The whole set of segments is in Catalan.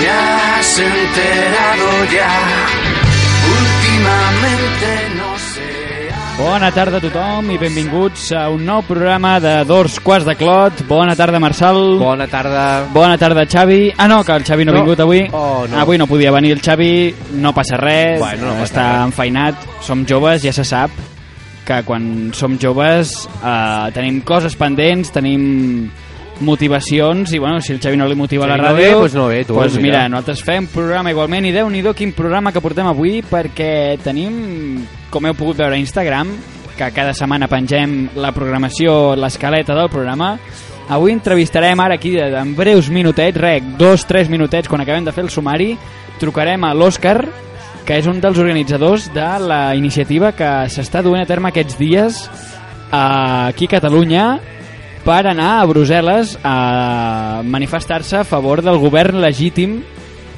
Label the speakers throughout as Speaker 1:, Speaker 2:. Speaker 1: te has enterado ja. Últimamente no sé...
Speaker 2: Bona tarda a tothom i benvinguts a un nou programa de Dors Quarts de Clot. Bona tarda, Marçal.
Speaker 3: Bona tarda.
Speaker 2: Bona tarda, Xavi. Ah, no, que el Xavi no, ha
Speaker 3: No.
Speaker 2: vingut avui.
Speaker 3: Oh, no.
Speaker 2: Avui no podia venir el Xavi, no passa res,
Speaker 3: Bueno, no passa
Speaker 2: està
Speaker 3: res.
Speaker 2: enfeinat, som joves, ja se sap que quan som joves eh, tenim coses pendents, tenim motivacions i bueno, si el Xavi no li motiva
Speaker 3: Si
Speaker 2: la
Speaker 3: no
Speaker 2: ràdio
Speaker 3: ve, doncs no ve, tu,
Speaker 2: doncs mira,
Speaker 3: mira.
Speaker 2: nosaltres fem programa igualment i déu nhi quin programa que portem avui perquè tenim, com heu pogut veure a Instagram, que cada setmana pengem la programació, l'escaleta del programa. Avui entrevistarem ara aquí de- en breus minutets, rec, dos, tres minutets, quan acabem de fer el sumari, trucarem a l'Òscar, que és un dels organitzadors de la iniciativa que s'està duent a terme aquests dies eh, aquí a Catalunya per anar a Brussel·les a manifestar-se a favor del govern legítim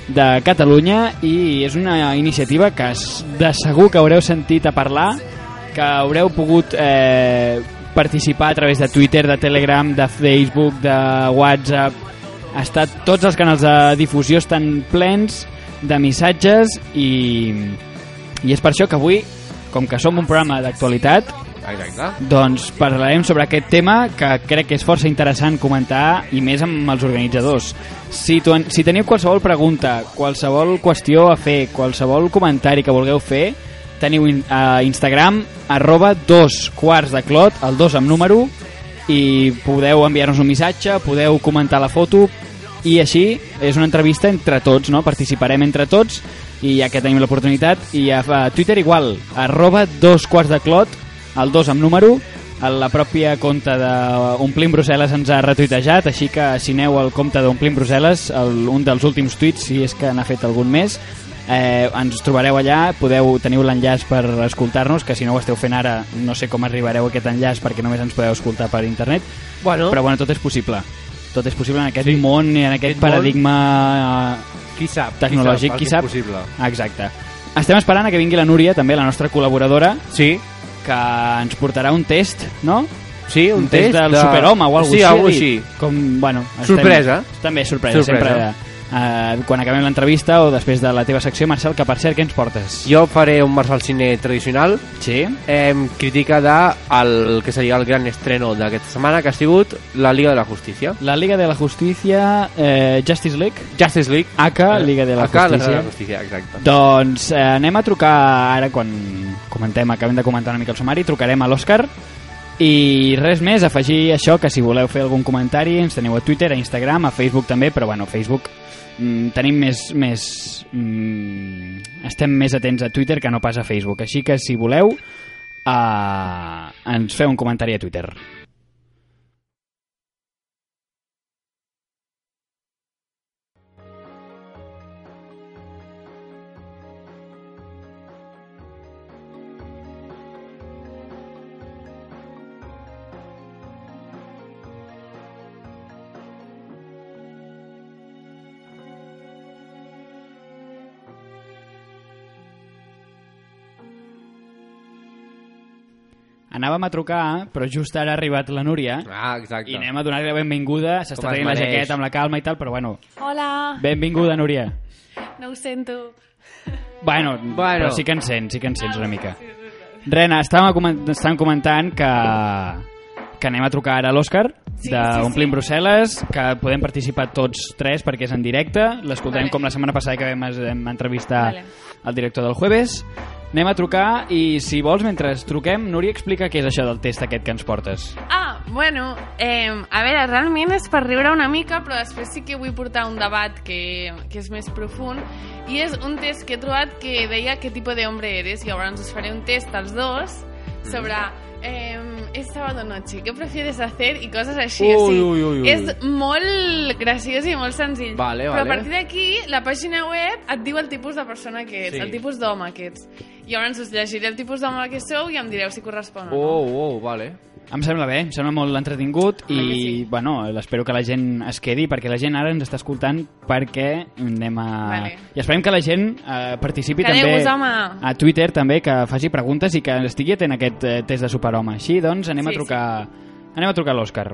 Speaker 2: de Catalunya i és una iniciativa que es- de segur que haureu sentit a parlar, que haureu pogut eh, participar a través de Twitter, de Telegram, de Facebook, de WhatsApp, ha estat tots els canals de difusió estan plens de missatges i, i és per això que avui, com que som un programa d'actualitat,
Speaker 3: Exacte.
Speaker 2: doncs parlarem sobre aquest tema que crec que és força interessant comentar i més amb els organitzadors. Si, tu, si teniu qualsevol pregunta, qualsevol qüestió a fer, qualsevol comentari que vulgueu fer, teniu in- a Instagram arroba dos quarts de clot, el dos amb número, i podeu enviar-nos un missatge, podeu comentar la foto, i així és una entrevista entre tots, no? Participarem entre tots i ja que tenim l'oportunitat i a, a Twitter igual, arroba dos quarts de clot, el dos amb número, a la pròpia compte d'Omplim Brussel·les ens ha retuitejat, així que si aneu al compte d'Omplim Brussel·les, el, un dels últims tuits, si és que n'ha fet algun més, eh, ens trobareu allà, podeu teniu l'enllaç per escoltar-nos, que si no ho esteu fent ara no sé com arribareu a aquest enllaç perquè només ens podeu escoltar per internet,
Speaker 3: Bueno,
Speaker 2: però bueno, tot és possible. Tot és possible en aquest sí. món i en aquest
Speaker 3: Aquest
Speaker 2: paradigma
Speaker 3: qui sap?
Speaker 2: eh, tecnològic, qui sap.
Speaker 3: el que és possible.
Speaker 2: Exacte. Estem esperant a que vingui la Núria, també la nostra col·laboradora,
Speaker 3: Sí,
Speaker 2: que ens portarà un test, no?
Speaker 3: sí, un,
Speaker 2: Un test, del
Speaker 3: de...
Speaker 2: superhome o alguna
Speaker 3: sí, algo
Speaker 2: així. ha
Speaker 3: així.
Speaker 2: dit. Com, bueno,
Speaker 3: Sorpresa.
Speaker 2: També sorpresa,
Speaker 3: Sorpresa.
Speaker 2: sorpresa. sempre. Eh, quan acabem l'entrevista o després de la teva secció, Marcel, que per cert, què ens portes?
Speaker 3: Jo faré un Marçal Cine tradicional
Speaker 2: Sí?
Speaker 3: eh, crítica de el que seria el gran estreno d'aquesta setmana que ha sigut la Liga de la Justícia
Speaker 2: La Liga de la Justícia, eh, Justice League,
Speaker 3: Justice League
Speaker 2: Aka, Liga de la
Speaker 3: Ah, Acá, Eh, la Liga
Speaker 2: Justícia.
Speaker 3: de la Justícia, exacte
Speaker 2: Doncs eh, anem a trucar ara quan comentem, acabem de comentar una mica el sumari, trucarem a l'Òscar i res més, afegir això que si voleu fer algun comentari ens teniu a Twitter, a Instagram, a Facebook també, però bueno, Facebook mm, tenim més... més mm, estem més atents a Twitter que no pas a Facebook, així que si voleu eh, ens feu un comentari a Twitter. Anàvem a trucar, però just ara ha arribat la Núria
Speaker 3: Ah, exacte
Speaker 2: i anem a donar-li la benvinguda, s'està
Speaker 3: Com es
Speaker 2: traient la
Speaker 3: mereix.
Speaker 2: jaqueta amb la calma i tal, però bueno,
Speaker 4: Hola,
Speaker 2: benvinguda Núria.
Speaker 4: no ho sento.
Speaker 2: Bueno, bueno, però sí que en sents, sí que en sents una mica. Rena, estàvem, comen- estàvem comentant que, que anem a trucar ara a l'Òscar
Speaker 4: Sí,
Speaker 2: d'Omplim
Speaker 4: sí, sí.
Speaker 2: Brussel·les, que podem participar tots tres perquè és en directe, l'escoltarem
Speaker 4: Vale.
Speaker 2: com la setmana passada que vam, vam entrevistar
Speaker 4: Vale.
Speaker 2: el director del Jueves. Anem a trucar i, si vols, mentre truquem, Núria explica què és això del test aquest que ens portes.
Speaker 4: Ah, bueno, eh, a veure, realment és per riure una mica, però després sí que vull portar un debat que, que és més profund, i és un test que he trobat que deia què tipus d'hombre eres, i llavors us faré un test als dos sobre eh, és sábado noche, què prefieres hacer i coses així. o
Speaker 3: Ui,
Speaker 4: sigui,
Speaker 3: ui, ui, ui.
Speaker 4: És molt graciós i molt senzill.
Speaker 3: Vale, vale.
Speaker 4: però a partir d'aquí, la pàgina web et diu el tipus de persona que ets,
Speaker 3: Sí.
Speaker 4: el tipus d'home que ets. I llavors us llegiré el tipus d'home que sou i em direu si correspon o no.
Speaker 3: Oh, oh, vale
Speaker 2: Em sembla bé, em sembla molt entretingut i,
Speaker 4: Clar que sí.
Speaker 2: bueno, espero que la gent es quedi perquè la gent ara ens està escoltant perquè anem a...
Speaker 4: Vale.
Speaker 2: I esperem que la gent eh, participi
Speaker 4: Quedeu-vos,
Speaker 2: també
Speaker 4: home.
Speaker 2: a Twitter també, que faci preguntes i que estigui atent a aquest eh, test de superhome. Així, doncs, anem
Speaker 4: Sí,
Speaker 2: a trucar... Anem a trucar a l'Òscar.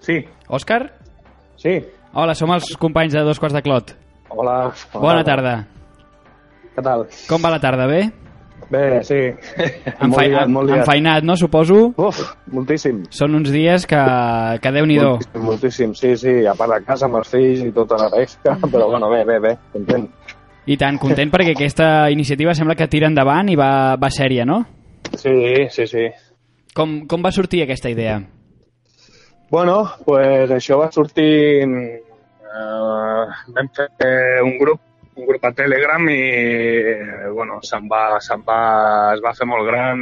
Speaker 5: Sí,
Speaker 2: Òscar?
Speaker 5: sí.
Speaker 2: Hola, som els companys de Dos Quarts de Clot.
Speaker 5: Hola.
Speaker 2: Bona tarda.
Speaker 5: Què tal?
Speaker 2: Com va la tarda, bé?
Speaker 5: Bé, sí.
Speaker 2: Enfai- Enfeinat, no, suposo?
Speaker 5: Uf, moltíssim.
Speaker 2: Són uns dies que, que déu-n'hi-do.
Speaker 5: Moltíssim, moltíssim, sí, sí, a part de casa amb els fills i tota la resta,
Speaker 2: Mm.
Speaker 5: però bueno, bé, bé, bé, content.
Speaker 2: I tant, content perquè aquesta iniciativa sembla que tira endavant i va, va sèria, no?
Speaker 5: Sí, sí, sí.
Speaker 2: Com, com va sortir aquesta idea?
Speaker 5: Bueno, pues això va sortir... Eh, vam fer un grup, un grup a Telegram i, eh, bueno, se'n va, se'n va, es va fer molt gran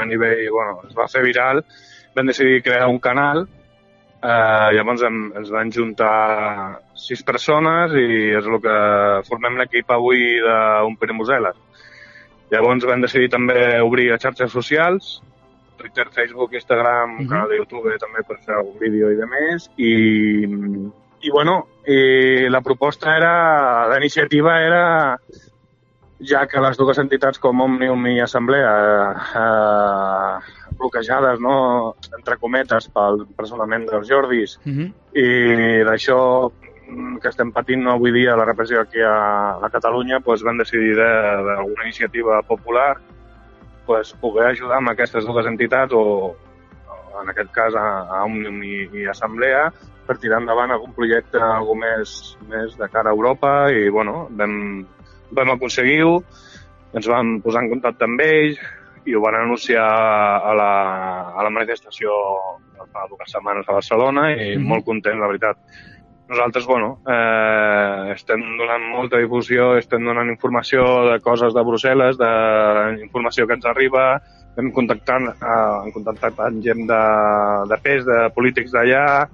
Speaker 5: a nivell, bueno, es va fer viral. Vam decidir crear un canal, eh, llavors em, ens van juntar sis persones i és el que formem l'equip avui d'un Pere Museles. Llavors vam decidir també obrir a xarxes socials, Twitter, Facebook, Instagram, un
Speaker 2: Mhm.
Speaker 5: canal de YouTube també per fer algun vídeo i de més. I, i bueno, i la proposta era, la iniciativa era ja que les dues entitats com Òmnium i Assemblea eh, eh, bloquejades, no?, entre cometes, pel personament dels Jordis,
Speaker 2: Uh -huh.
Speaker 5: i d'això mm, que estem patint no, avui dia la repressió aquí a, a Catalunya doncs van decidir de- d'alguna iniciativa popular doncs, poder ajudar amb aquestes dues entitats o en aquest cas a, a Òmnium i, i Assemblea per tirar endavant algun projecte algú més, més de cara a Europa i bueno, vam, vam aconseguir-ho ens vam posar en contacte amb ells i ho van anunciar a la, a la manifestació fa dues setmanes a Barcelona i
Speaker 2: Mhm.
Speaker 5: molt content, la veritat. Nosaltres, bueno, eh, estem donant molta difusió, estem donant informació de coses de Brussel·les, de informació que ens arriba, hem contactat, eh, hem contactat amb gent de, de pes, de polítics d'allà,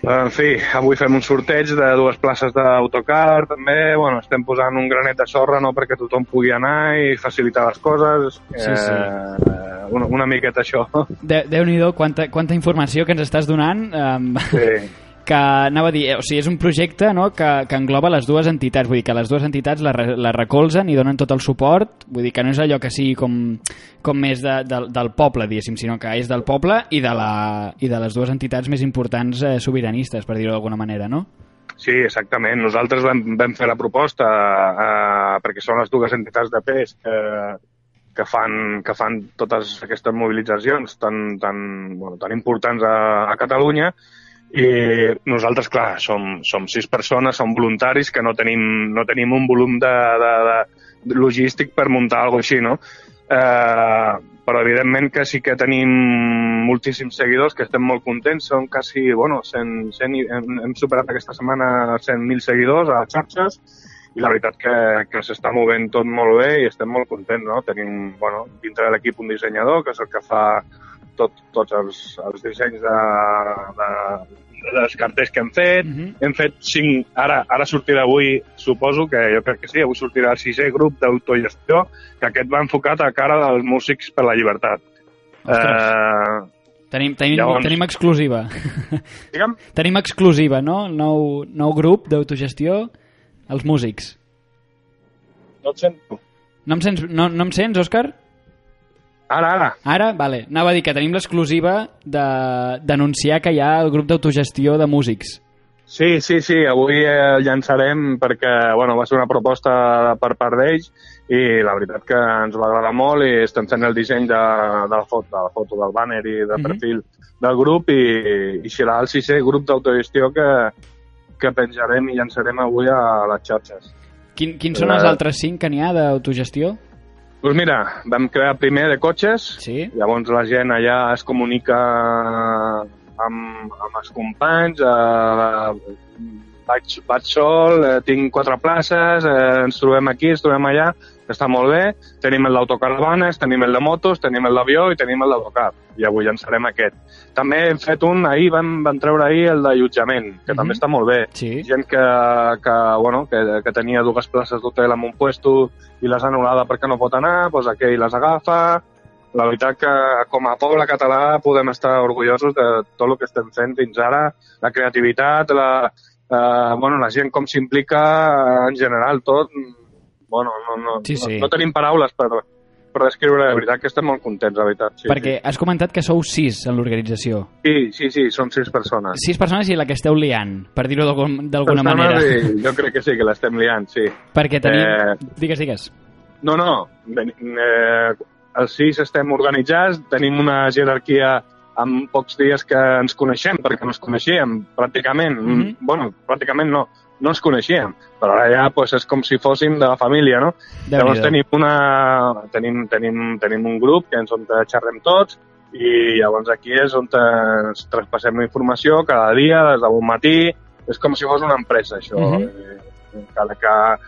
Speaker 5: en fi, avui fem un sorteig de dues places d'autocar, també, bueno, estem posant un granet de sorra no, perquè tothom pugui anar i facilitar les coses.
Speaker 2: Sí, sí.
Speaker 5: Eh, una, una miqueta això.
Speaker 2: De, Déu-n'hi-do, quanta, quanta informació que ens estàs donant. Um,
Speaker 5: Sí.
Speaker 2: que anava a dir, eh, o sigui, és un projecte no, que, que engloba les dues entitats, vull dir que les dues entitats la, re- la recolzen i donen tot el suport, vull dir que no és allò que sigui com, com més de, de, del poble, diguéssim, sinó que és del poble i de, la, i de les dues entitats més importants eh, sobiranistes, per dir-ho d'alguna manera, no?
Speaker 5: Sí, exactament. Nosaltres vam, vam fer la proposta eh, perquè són les dues entitats de pes que, que, fan, que fan totes aquestes mobilitzacions tan, tan, bueno, tan importants a, a Catalunya i nosaltres, clar, som, som sis persones, som voluntaris que no tenim, no tenim un volum de, de, de logístic per muntar alguna així, no? Eh, però evidentment que sí que tenim moltíssims seguidors que estem molt contents, són quasi, bueno, 100, 100, i- hem, hem superat aquesta setmana 100.000 seguidors a les xarxes i la veritat que, que s'està movent tot molt bé i estem molt contents, no? Tenim, bueno, dintre de l'equip un dissenyador que és el que fa tot, tots els, els dissenys de, de, dels cartells que hem fet,
Speaker 2: Mhm.
Speaker 5: hem fet cinc, ara, ara sortirà avui, suposo que jo crec que sí, avui sortirà el sisè grup d'autogestió, que aquest va enfocat a cara dels músics per la llibertat. Eh,
Speaker 2: Tenim, tenim,
Speaker 5: Llavors-
Speaker 2: tenim exclusiva.
Speaker 5: digue'm,
Speaker 2: tenim exclusiva, no? Nou, nou grup d'autogestió, els músics.
Speaker 5: no et sento.
Speaker 2: No em sents, no, no em sents Òscar?
Speaker 5: Ara, ara.
Speaker 2: Ara, vale, anava a dir que tenim l'exclusiva de- d'anunciar que hi ha el grup d'autogestió de músics.
Speaker 5: Sí, sí, sí, avui eh, el llançarem perquè bueno, va ser una proposta per part d'ells i la veritat que ens va agradar molt i estem fent el disseny de, de, la, foto, de la foto del banner i de
Speaker 2: Mhm.
Speaker 5: perfil del grup i, i serà el sisè grup d'autogestió que, que penjarem i llançarem avui a les xarxes.
Speaker 2: Quin, quins són els
Speaker 5: Eh.
Speaker 2: altres cinc que n'hi ha d'autogestió?
Speaker 5: Doncs mira, vam crear primer de cotxes,
Speaker 2: Sí.
Speaker 5: Llavors la gent allà es comunica amb, amb els companys, eh, vaig, vaig sol, eh, tinc quatre places, eh, ens trobem aquí, ens trobem allà, està molt bé. Tenim el d'autocaravanes, tenim el de motos, tenim el d'avió i tenim el d'autocar. I avui llançarem aquest. També hem fet un, ahir vam, vam treure ahir el d'allotjament, que
Speaker 2: Mhm.
Speaker 5: també està molt bé
Speaker 2: Sí.
Speaker 5: gent que, que, bueno, que, que tenia dues places d'hotel en un puesto i les ha anul·lada perquè no pot anar, doncs aquell les agafa. La veritat que com a poble català podem estar orgullosos de tot el que estem fent fins ara, la creativitat, la, eh, bueno, la gent com s'implica eh, en general tot. Bueno, no, no,
Speaker 2: Sí, sí.
Speaker 5: no, no tenim paraules per, per descriure, la veritat que estem molt contents, la veritat. Sí,
Speaker 2: Perquè has comentat que sou sis en l'organització.
Speaker 5: Sí, sí, sí, som sis persones.
Speaker 2: Sis persones i la que esteu liant, per dir-ho d'algun- d'alguna
Speaker 5: Ah. Persones
Speaker 2: manera.
Speaker 5: i jo crec que sí, que l'estem liant, sí.
Speaker 2: Perquè tenim...
Speaker 5: Eh.
Speaker 2: Digues, digues.
Speaker 5: No, no. ven- Eh, els sis estem organitzats, tenim una jerarquia amb pocs dies que ens coneixem, perquè no ens coneixíem, pràcticament. Mm
Speaker 2: Mhm.
Speaker 5: -hmm. bueno, pràcticament no, no ens coneixíem, però ara ja pues, és com si fóssim de la família, no?
Speaker 2: déu
Speaker 5: Llavors
Speaker 2: nhi
Speaker 5: tenim, una, tenim, tenim, tenim un grup que ens on xerrem tots i llavors aquí és on ens traspassem informació cada dia, des de bon matí, és com si fos una empresa, això.
Speaker 2: Mhm.
Speaker 5: Eh, Cada que,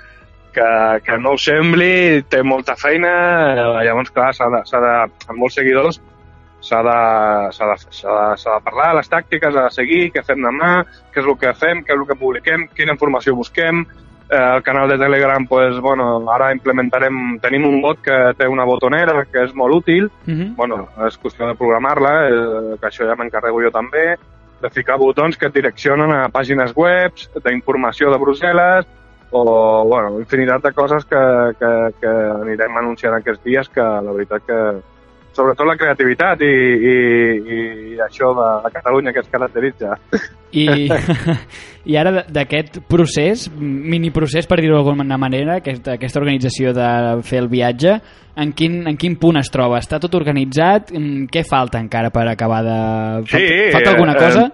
Speaker 5: que, que no ho sembli, té molta feina, eh, llavors, clar, s'ha de, s'ha de, amb molts seguidors s'ha de, s'ha de, s'ha de, s'ha de parlar les tàctiques, ha de seguir, què fem demà, què és el que fem, què és el que publiquem, quina informació busquem, Eh, el canal de Telegram, pues, bueno, ara implementarem... Tenim un bot que té una botonera que és molt útil.
Speaker 2: Mhm.
Speaker 5: bueno, és qüestió de programar-la, eh, que això ja m'encarrego jo també, de ficar botons que et direccionen a pàgines webs, d'informació de Brussel·les, o, bueno, infinitat de coses que, que, que anirem anunciant aquests dies, que la veritat que... Sobretot la creativitat i, i, i això de la Catalunya que es caracteritza.
Speaker 2: I, I ara d- d'aquest procés, mini procés per dir-ho d'alguna manera, aquesta, aquesta organització de fer el viatge, en quin, en quin punt es troba? Està tot organitzat? Mm, Què falta encara per acabar de...
Speaker 5: Sí,
Speaker 2: Falta, falta alguna
Speaker 5: eh,
Speaker 2: cosa?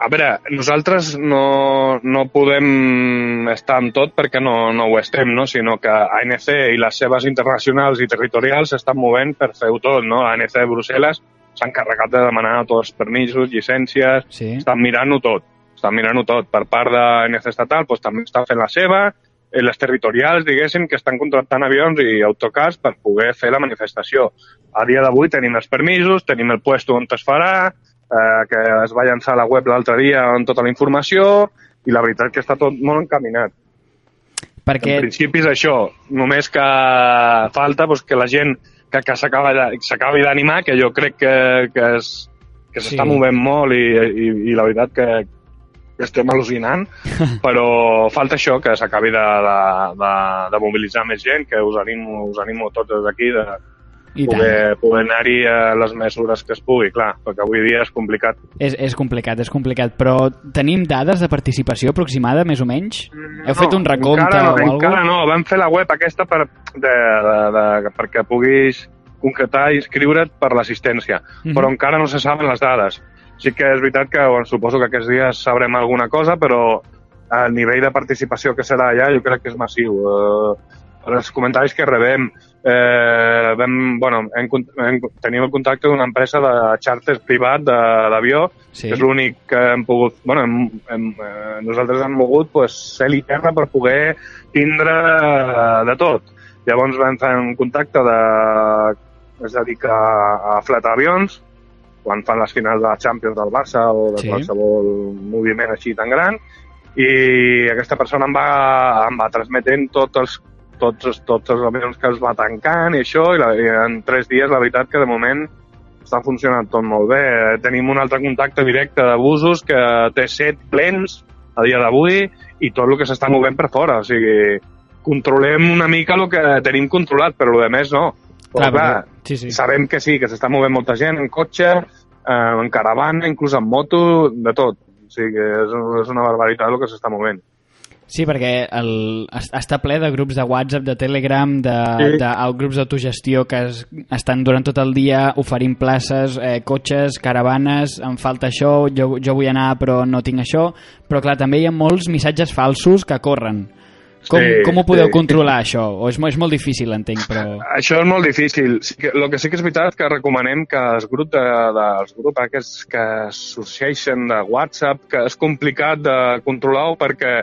Speaker 5: A veure, nosaltres no, no podem estar amb tot perquè no, no ho estem, no? sinó que ANC i les seves internacionals i territorials s'estan movent per fer-ho tot. No? ANC de Brussel·les s'ha encarregat de demanar tots els permisos, llicències,
Speaker 2: Sí.
Speaker 5: estan mirant-ho tot. Estan mirant-ho tot. Per part de ANC estatal doncs, també està fent la seva, eh, les territorials, diguéssim, que estan contractant avions i autocars per poder fer la manifestació. A dia d'avui tenim els permisos, tenim el puesto on es farà, eh, que es va llançar a la web l'altre dia amb tota la informació, i la veritat que està tot molt encaminat.
Speaker 2: Perquè...
Speaker 5: En principi és això, només que falta doncs, que la gent que, que s'acaba de- s'acabi d'animar, que jo crec que, que es, que s'està
Speaker 2: Sí.
Speaker 5: movent molt i, i, i la veritat que que estem al·lucinant, però falta això, que s'acabi de, de, de, de mobilitzar més gent, que us animo, us animo tots des d'aquí de
Speaker 2: I tant.
Speaker 5: poder, poder anar-hi a les mesures que es pugui, clar, perquè avui dia és complicat.
Speaker 2: És, és complicat, és complicat, però tenim dades de participació aproximada, més o menys? Heu fet un recompte
Speaker 5: encara
Speaker 2: o
Speaker 5: no,
Speaker 2: alguna
Speaker 5: Encara no, vam fer la web aquesta per, de, de, de, perquè puguis concretar i inscriure't per l'assistència,
Speaker 2: Mhm.
Speaker 5: però encara no se saben les dades. Sí que és veritat que bueno, suposo que aquests dies sabrem alguna cosa, però el nivell de participació que serà allà jo crec que és massiu. Eh, els comentaris que rebem, eh, vam, bueno, hem, con- hem, tenim el contacte d'una empresa de xàrter privat de- d'avió
Speaker 2: Sí.
Speaker 5: que és l'únic que hem pogut... Bueno, hem, hem, eh, nosaltres hem mogut pues, cel i terra per poder tindre eh, de tot. Llavors vam fer un contacte de... Es dedica a flatar avions, quan fan les finals de la Champions del Barça o de
Speaker 2: Sí.
Speaker 5: sí. qualsevol moviment així tan gran, i aquesta persona em va, em va transmetent tots els, tots, els- tots els avions que es va tancant i això, i, la, i en tres dies la veritat que de moment està funcionant tot molt bé. Eh, Tenim un altre contacte directe de busos que té set plens a dia d'avui i tot el que s'està movent per fora. O sigui, controlem una mica el que tenim controlat, però el de més no. Però, clar, clar
Speaker 2: perquè- sí, sí.
Speaker 5: sabem que sí, que s'està movent molta gent en cotxe, eh, en caravana, inclús en moto, de tot. O sigui que és, és una barbaritat el que s'està movent.
Speaker 2: Sí, perquè el, es- està ple de grups de WhatsApp, de Telegram, de, sí.
Speaker 5: Sí.
Speaker 2: de el, grups d'autogestió que es, estan durant tot el dia oferint places, eh, cotxes, caravanes, em falta això, jo, jo vull anar però no tinc això. Però clar, també hi ha molts missatges falsos que corren. Com,
Speaker 5: Sí,
Speaker 2: com ho podeu
Speaker 5: sí.
Speaker 2: controlar, això? O és, mo- és molt difícil, entenc, però...
Speaker 5: Això és molt difícil. Sí que, el que sí que és veritat és que recomanem que els grups de, de, els grups aquests que sorgeixen de WhatsApp, que és complicat de controlar-ho perquè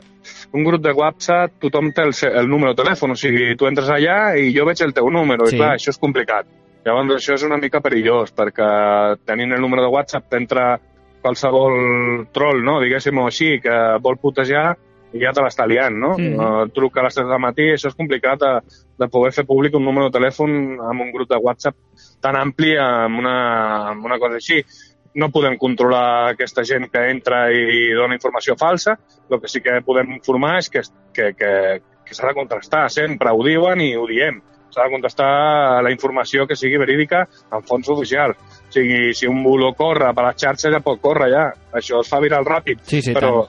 Speaker 5: un grup de WhatsApp tothom té el, se- el número de telèfon, o sigui, tu entres allà i jo veig el teu número,
Speaker 2: Sí.
Speaker 5: i clar, això és complicat. Llavors això és una mica perillós perquè tenint el número de WhatsApp t'entra qualsevol troll, no? diguéssim així, que vol putejar i ja te l'està liant, no?
Speaker 2: Sí.
Speaker 5: Mm. Uh, truca a les 3 del matí, això és complicat de, de poder fer públic un número de telèfon amb un grup de WhatsApp tan ampli amb una, amb una cosa així. No podem controlar aquesta gent que entra i dona informació falsa, el que sí que podem informar és que, que, que, que s'ha de contrastar sempre, ho diuen i ho diem. s'ha de contestar a la informació que sigui verídica en fons oficial. O sigui, si un voló corre per les xarxes, ja pot córrer ja. Això es fa viral ràpid.
Speaker 2: Sí, sí,
Speaker 5: però,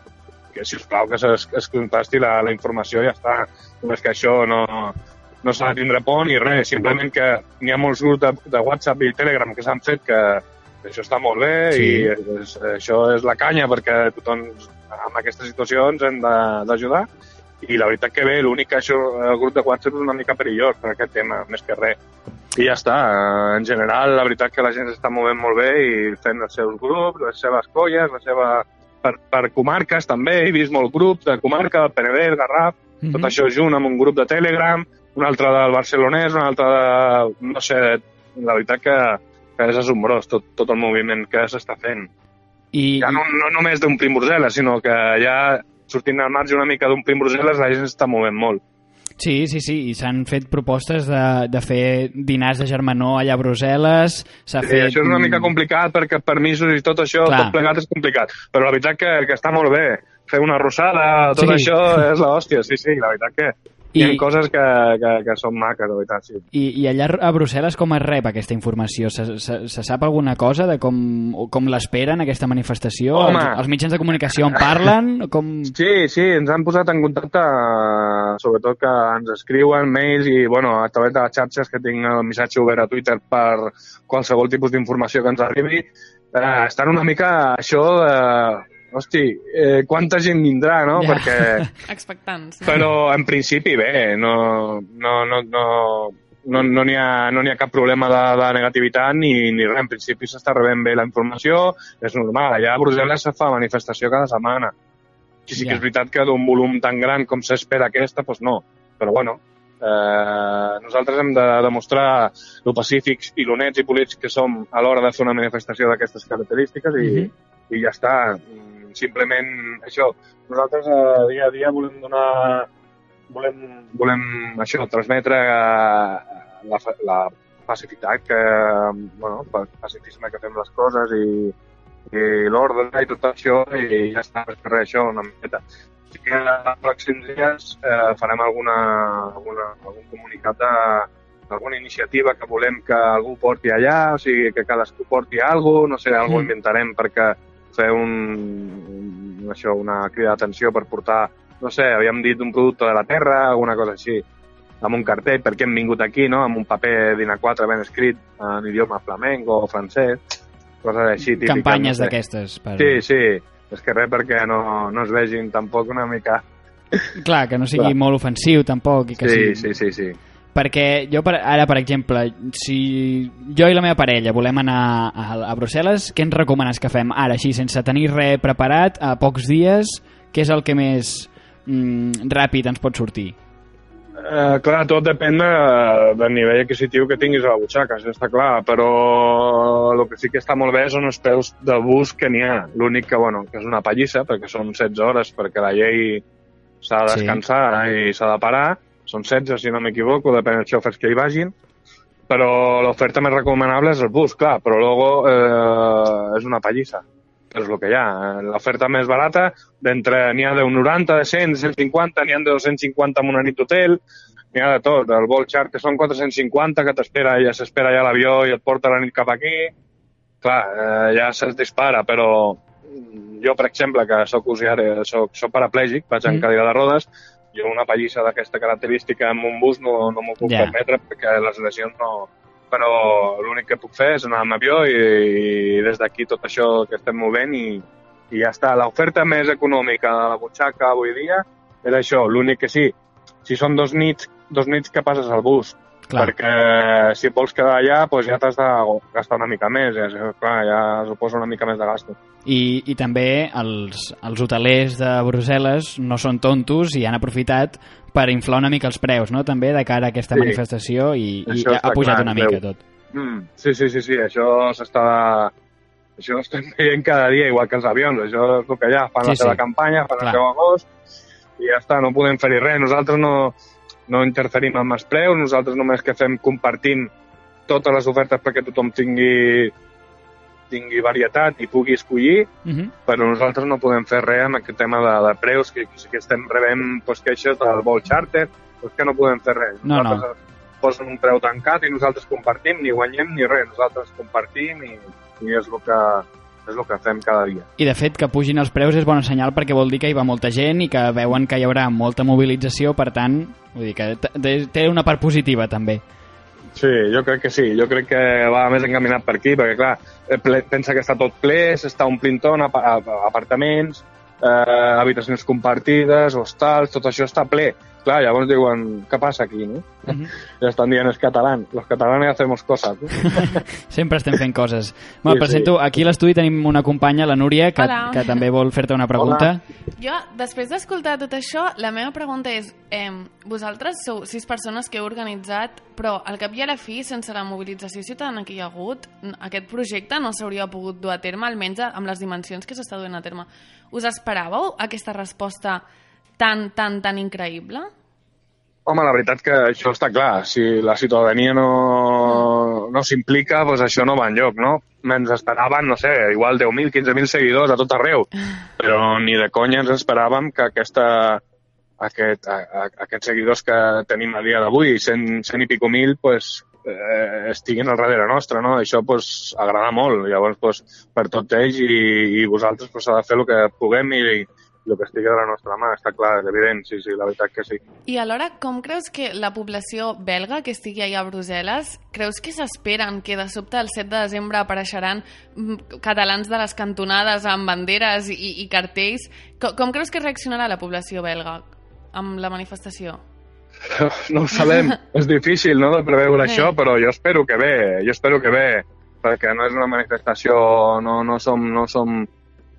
Speaker 5: que, sisplau, que es, es contesti la, la informació i ja està. Només que això no, no s'ha de tindre por ni res. Simplement que n'hi ha molts grups de, de WhatsApp i Telegram que s'han fet que això està molt bé sí. i és, això és la canya perquè tothom amb aquestes situacions hem de- d'ajudar i la veritat que bé, l'únic que això, el grup de WhatsApp és una mica perillós per aquest tema, més que res. I ja està, eh, en general la veritat que la gent s'està movent molt bé i fent els seus grups, les seves colles, la seva... Per, per comarques també, he vist molt grups de comarca, del Penedès, Garraf,
Speaker 2: Mhm.
Speaker 5: tot això junt amb un grup de Telegram, un altre del barcelonès, un altre de... no sé, la veritat que, que és assombrós tot, tot el moviment que s'està fent.
Speaker 2: I,
Speaker 5: Ja no, no només d'un prim Brussel·les, sinó que ja sortint al marge una mica d'un prim Brussel·les la gent s'està movent molt.
Speaker 2: Sí, sí, sí, i s'han fet propostes de, de fer dinars de germanor allà a Brussel·les, s'ha
Speaker 5: Sí,
Speaker 2: fet...
Speaker 5: això és una mica
Speaker 2: mm,
Speaker 5: complicat perquè permisos i tot això,
Speaker 2: Clar.
Speaker 5: tot plegat és complicat. Però la veritat que, que està molt bé. Fer una rossada, tot
Speaker 2: Sí.
Speaker 5: sí. això és l'hòstia, sí, sí, la veritat que
Speaker 2: I-
Speaker 5: hi ha coses que, que, que són maques, la veritat, sí.
Speaker 2: I, I allà a Brussel·les com es rep aquesta informació? Se, se, se sap alguna cosa de com, com l'esperen, aquesta manifestació?
Speaker 5: Home!
Speaker 2: Els, els mitjans de comunicació en parlen? Com...
Speaker 5: Sí, sí, ens han posat en contacte, eh, sobretot que ens escriuen mails i, bueno, a través de les xarxes que tinc el missatge obert a Twitter per qualsevol tipus d'informació que ens arribi, eh, estan una mica això de... Hosti, eh, quanta gent vindrà, no?
Speaker 2: Ja.
Speaker 5: Perquè,
Speaker 4: Expectants, no?
Speaker 5: però en principi bé, no no, no, no, no, no n'hi ha, no n'hi ha cap problema de, de negativitat ni, ni res. En principi s'està rebent bé la informació, és normal. Allà a Brussel·les se fa manifestació cada setmana. I sí
Speaker 2: Ja.
Speaker 5: que és veritat que d'un volum tan gran com s'espera aquesta, doncs no. Però bueno, eh, nosaltres hem de demostrar lo pacífics i lo nets i polits que som a l'hora de fer una manifestació d'aquestes característiques i,
Speaker 2: Mhm.
Speaker 5: i ja està. Mm, Simplement això. Nosaltres eh, dia a dia volem donar... Volem, volem això, transmetre eh, la, fa- la pacificat que, bueno, el pacifisme que fem les coses i, i l'ordre i tot això i ja està, més que res, això una miqueta. Així que els pròxims dies eh, farem alguna, alguna, algun comunicat de, alguna iniciativa que volem que algú porti allà, o sigui, que cadascú porti alguna cosa, no sé, alguna
Speaker 2: Mm.
Speaker 5: mm. inventarem perquè fer un, un, això, una crida d'atenció per portar, no sé, havíem dit un producte de la terra, alguna cosa així amb un cartell, perquè hem vingut aquí, no? amb un paper d'INA4 ben escrit en idioma flamenc o francès, coses així típiques.
Speaker 2: Campanyes
Speaker 5: no sé.
Speaker 2: d'aquestes. Per...
Speaker 5: Sí, sí, és que res perquè no, no es vegin tampoc una mica...
Speaker 2: Clar, que no sigui
Speaker 5: Clar.
Speaker 2: molt ofensiu tampoc. I que
Speaker 5: Sí,
Speaker 2: sigui...
Speaker 5: sí, sí, sí.
Speaker 2: Perquè jo, per, ara, per exemple, si jo i la meva parella volem anar a, a Brussel·les, què ens recomanes que fem ara, així, sense tenir res preparat, a pocs dies, què és el que més mm, ràpid ens pot sortir?
Speaker 5: Eh, clar, tot depèn de, del nivell adquisitiu que tinguis a la butxaca, això està clar, però el que sí que està molt bé són els preus de bus que n'hi ha. L'únic que, bueno, que és una pallissa, perquè són 16 hores, perquè la llei s'ha de
Speaker 2: Sí.
Speaker 5: descansar i s'ha de parar, són 16, si no m'equivoco, depèn dels xofers que hi vagin, però l'oferta més recomanable és el bus, clar, però logo eh, és una pallissa és el que hi ha. Eh, L'oferta més barata, d'entre n'hi ha de 90, de 100, de 150, n'hi ha de 250 amb una nit d'hotel, n'hi ha de tot. El vol charter són 450 que t'espera, ja s'espera ja l'avió i et porta la nit cap aquí. Clar, eh, ja se'ls dispara, però mm, jo, per exemple, que soc usuari, soc, soc paraplègic, vaig
Speaker 2: Mm.
Speaker 5: en cadira de rodes, jo una pallissa d'aquesta característica amb un bus no, no m'ho puc
Speaker 2: Ja.
Speaker 5: permetre perquè les lesions no, però l'únic que puc fer és anar amb avió i, i des d'aquí tot això que estem movent i, i ja està. L'oferta més econòmica de la butxaca avui dia és això. L'únic que sí, si són dos nits, dos nits que passes al bus,
Speaker 2: Clar.
Speaker 5: perquè si et vols quedar allà doncs ja t'has de gastar una mica més, ja, clar, ja suposa una mica més de gasto.
Speaker 2: I, i també els, els hotelers de Brussel·les no són tontos i han aprofitat per inflar una mica els preus, no?, també, de cara a aquesta
Speaker 5: Sí.
Speaker 2: manifestació i, i
Speaker 5: Això
Speaker 2: ha
Speaker 5: està
Speaker 2: pujat
Speaker 5: clar,
Speaker 2: una
Speaker 5: es
Speaker 2: mica
Speaker 5: veu.
Speaker 2: tot.
Speaker 5: Mm, sí, sí, sí, sí, això s'està... Això ho estem veient cada dia, igual que els avions. Això és el que hi ha. Fan
Speaker 2: Sí,
Speaker 5: sí, la seva
Speaker 2: sí.
Speaker 5: sí. campanya, fan
Speaker 2: Clar.
Speaker 5: el seu agost i ja està, no podem fer-hi res. Nosaltres no, no interferim amb els preus, nosaltres només que fem compartim totes les ofertes perquè tothom tingui, tingui varietat i pugui escollir
Speaker 2: Uh -huh.
Speaker 5: però nosaltres no podem fer res amb aquest tema de, de preus, que, que sí que estem rebent pues, queixes del vol charter, doncs que no podem fer res.
Speaker 2: No, no.
Speaker 5: Nosaltres posen un preu tancat i nosaltres compartim, ni guanyem ni res, nosaltres compartim i, i és el que és el que fem cada dia.
Speaker 2: I de fet, que pugin els preus és bon senyal perquè vol dir que hi va molta gent i que veuen que hi haurà molta mobilització, per tant, vull dir que t- té- té una part positiva també.
Speaker 5: Sí, jo crec que sí, jo crec que va més encaminat per aquí, perquè clar, eh, ple, pensa que està tot ple, s'està omplint tot, apa- a- apartaments, eh, habitacions compartides, hostals, tot això està ple. Clar, llavors diuen, què passa aquí, no?
Speaker 2: Mhm.
Speaker 5: Ja estan dient els catalans, los catalanes hacemos cosas. No?
Speaker 2: Sempre estem fent coses. Bueno,
Speaker 5: Sí, sí.
Speaker 2: presento, aquí a l'estudi tenim una companya, la Núria, que,
Speaker 4: Hola.
Speaker 2: que també vol fer-te una pregunta.
Speaker 4: Jo, després d'escoltar tot això, la meva pregunta és, eh, vosaltres sou sis persones que heu organitzat, però al cap i a la fi, sense la mobilització ciutadana que hi ha hagut, n- aquest projecte no s'hauria pogut dur a terme, almenys amb les dimensions que s'està duent a terme. Us esperàveu aquesta resposta tan, tan, tan increïble?
Speaker 5: Home, la veritat que això està clar. Si la ciutadania no, no s'implica, doncs això no va enlloc, no? Ens esperaven, no sé, igual 10.000, 15.000 seguidors a tot arreu. Però ni de conya ens esperàvem que aquesta, aquest, a, a, aquests seguidors que tenim a dia d'avui, 100, 100 i pico mil, pues, eh, estiguin al darrere nostre, no? Això pues, agrada molt. Llavors, pues, per tot ells i, i vosaltres pues, s'ha de fer el que puguem i, i el que estigui a la nostra mà, està clar, és evident, sí, sí, la veritat que sí.
Speaker 4: I alhora, com creus que la població belga que estigui allà a Brussel·les, creus que s'esperen que de sobte el 7 de desembre apareixeran mm, catalans de les cantonades amb banderes i, i cartells? Com, com creus que reaccionarà la població belga amb la manifestació?
Speaker 5: no ho sabem. és difícil, no?, de preveure
Speaker 4: Sí.
Speaker 5: això, però jo espero que bé, jo espero que bé, perquè no és una manifestació, no, no som, no som,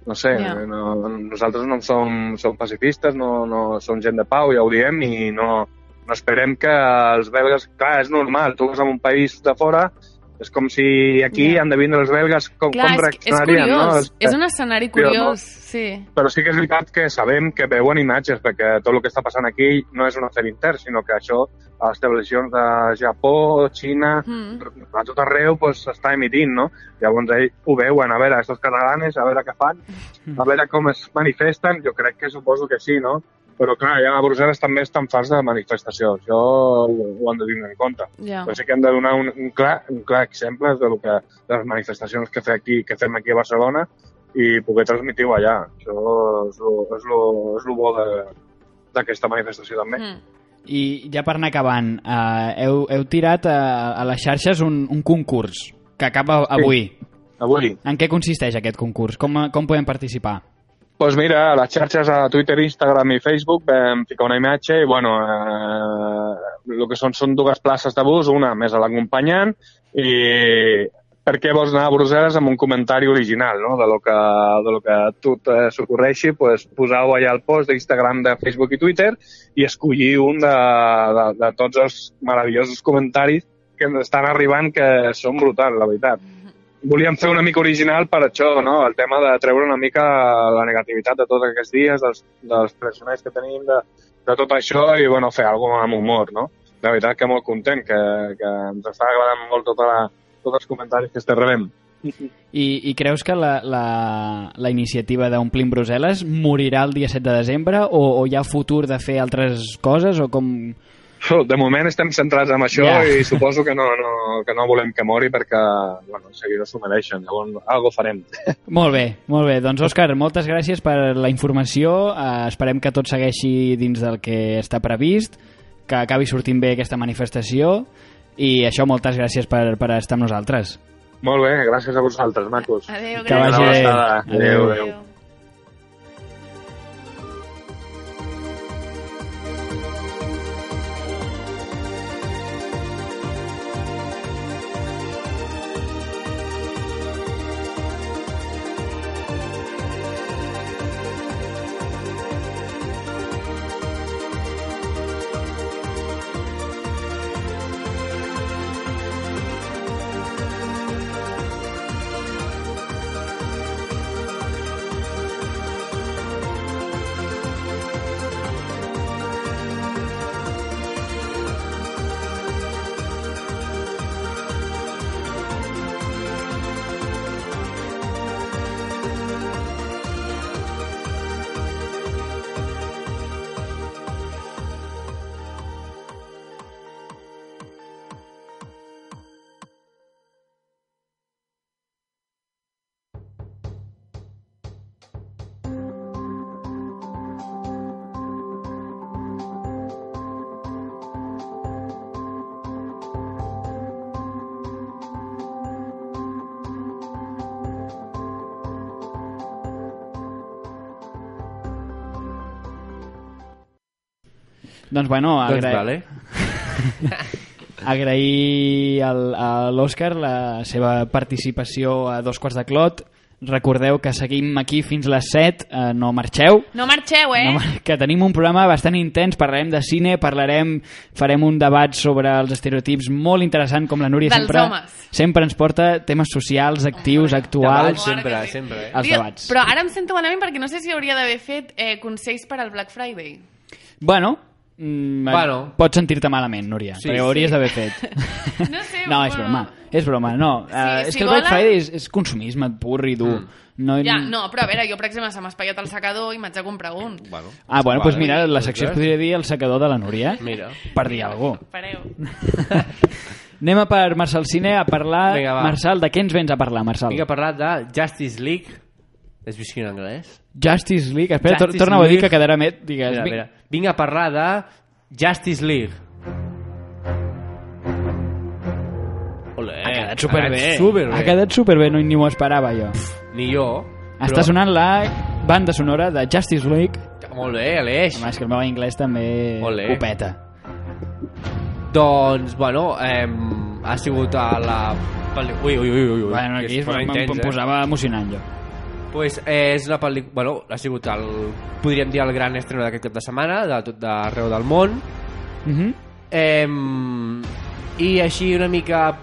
Speaker 5: no sé,
Speaker 4: Ja.
Speaker 5: no, nosaltres no som, som pacifistes, no, no som gent de pau, ja ho diem, i no, no esperem que els belgues... Clar, és normal, tu vas a un país de fora, és com si aquí
Speaker 4: Ja.
Speaker 5: han de vindre els belgues, com,
Speaker 4: Clar,
Speaker 5: com
Speaker 4: és, que- és
Speaker 5: reaccionarien, no?
Speaker 4: curiós,
Speaker 5: que-
Speaker 4: és un escenari
Speaker 5: Però no-
Speaker 4: curiós, sí.
Speaker 5: però sí que és veritat que sabem que veuen imatges, perquè tot el que està passant aquí no és un afer intern, sinó que això a les televisions de Japó, Xina,
Speaker 4: Mm.
Speaker 5: a tot arreu pues, s'està emitint, no? Llavors ells ho veuen, a veure, estos catalanes, a veure què fan, a veure com es manifesten, jo crec que suposo que sí, no? Però clar, ja a Brussel·les també estan fars de manifestació, això ho, ho han de tenir en compte.
Speaker 4: Ja.
Speaker 5: Però sí que hem de donar un, un, clar, un clar exemple de, lo que, de les manifestacions que, fe aquí, que fem aquí a Barcelona i poder transmitir-ho allà. Això és lo, és lo, és lo bo de- d'aquesta manifestació també.
Speaker 4: Mm.
Speaker 2: I ja per anar acabant, eh, heu, heu tirat a, a les xarxes un, un concurs que acaba avui.
Speaker 5: Avui,
Speaker 2: En què consisteix aquest concurs? Com, com podem participar?
Speaker 5: Pues mira, a les xarxes a Twitter, Instagram i Facebook vam ficar una imatge i, bueno, eh, el que són són dues places de bus, una més a l'acompanyant i per què vols anar a Brussel·les amb un comentari original, no?, de lo que, de lo que a tu eh, s'ocorreixi, pues, posau allà el post d'Instagram, de Facebook i Twitter i escollir un de, de, de tots els meravellosos comentaris que ens estan arribant, que són brutals, la veritat
Speaker 4: Mm.
Speaker 5: volíem fer una mica original per això, no? El tema de treure una mica la negativitat de tots aquests dies, dels, dels pressioners que tenim, de, de tot això i, bueno, fer alguna cosa amb humor, no? La veritat que molt content, que, que ens està agradant molt tota la, tots els comentaris que estem rebent.
Speaker 2: I, I creus que la, la, la iniciativa d'Omplim Brussel·les morirà el dia 7 de desembre o, o hi ha futur de fer altres coses o com...
Speaker 5: De moment estem centrats en això
Speaker 2: Ja.
Speaker 5: i suposo que no, no, que no volem que mori perquè, bueno, seguidors s'ho mereixen. Llavors, algo farem.
Speaker 2: Molt bé, molt bé. Doncs, Òscar, moltes gràcies per la informació. Eh, esperem que tot segueixi dins del que està previst, que acabi sortint bé aquesta manifestació i això, moltes gràcies per, per estar amb nosaltres.
Speaker 5: Molt bé, gràcies a vosaltres, macos.
Speaker 4: Adéu,
Speaker 2: Que vagi
Speaker 4: gràcies.
Speaker 2: bé.
Speaker 5: Una abraçada. Adéu, adéu.
Speaker 4: Adéu.
Speaker 2: Doncs bueno,
Speaker 3: Doncs
Speaker 2: agra
Speaker 3: vale.
Speaker 2: agrair al, a l'Òscar la seva participació a Dos Quarts de Clot. Recordeu que seguim aquí fins les 7, eh, no marxeu.
Speaker 4: No marxeu, eh?
Speaker 2: No, mar- que tenim un programa bastant intens, parlarem de cine, parlarem, farem un debat sobre els estereotips molt interessant, com la Núria
Speaker 4: Dels
Speaker 2: sempre,
Speaker 4: homes.
Speaker 2: sempre ens porta temes socials, actius, actuals...
Speaker 3: Debats, sempre, sempre. eh?
Speaker 2: Els
Speaker 4: Tio,
Speaker 2: debats.
Speaker 4: Però ara em sento malament perquè no sé si hauria d'haver fet eh, consells per al Black Friday.
Speaker 2: Bueno, mm,
Speaker 3: Bueno.
Speaker 2: pots sentir-te malament, Núria,
Speaker 3: Sí,
Speaker 2: sí, però ho hauries d'haver fet.
Speaker 4: No sé,
Speaker 2: no, és
Speaker 4: bueno.
Speaker 2: broma, és broma, no.
Speaker 4: Sí,
Speaker 2: eh, és
Speaker 4: si
Speaker 2: que el Black
Speaker 4: volen-
Speaker 2: Friday és, és consumisme pur i
Speaker 3: Mm.
Speaker 2: dur. No,
Speaker 4: Ja, no, però a veure, jo, per exemple, se m'ha espatllat el secador i m'haig de comprar un.
Speaker 3: Bueno.
Speaker 2: Ah, bueno, doncs
Speaker 3: Vale,
Speaker 2: mira, la
Speaker 3: doncs
Speaker 2: secció es
Speaker 3: res.
Speaker 2: podria dir el secador de la Núria,
Speaker 3: Mira.
Speaker 2: per dir alguna cosa.
Speaker 4: Pareu.
Speaker 2: Anem a per Marçal Cine a parlar...
Speaker 3: Vinga, va.
Speaker 2: Marçal, de què ens vens a parlar, Marçal?
Speaker 3: Vinc a parlar de Justice League. Has vist quin anglès?
Speaker 2: Justice League. Espera, tor
Speaker 3: Justice
Speaker 2: torna-ho a dir
Speaker 3: League.
Speaker 2: que quedarà met. Digues,
Speaker 3: Mira,
Speaker 2: Vinc-
Speaker 3: mira. Vinc a parlar de Justice League. Olé,
Speaker 2: Ha quedat
Speaker 3: Eh, Ha
Speaker 2: superbé.
Speaker 3: quedat superbé.
Speaker 2: Ha quedat superbé, no, ni m'ho esperava jo.
Speaker 3: Ni jo.
Speaker 2: Està sonant la banda sonora de Justice League.
Speaker 3: Molt bé, Aleix.
Speaker 2: Home, és que el meu anglès també
Speaker 3: Ole.
Speaker 2: ho peta.
Speaker 3: Doncs, bueno, em, ha sigut a la... pel- Ui, ui, ui, ui. ui.
Speaker 2: Bueno,
Speaker 3: és
Speaker 2: aquí es,
Speaker 3: molt
Speaker 2: em,
Speaker 3: intens,
Speaker 2: em
Speaker 3: eh?
Speaker 2: posava emocionant jo.
Speaker 3: Pues, eh, és una pel·lícula... Bueno, ha sigut el... Podríem dir el gran estreno d'aquest cap de setmana, de tot d'arreu del món.
Speaker 2: Uh -huh.
Speaker 3: Eh, I així una mica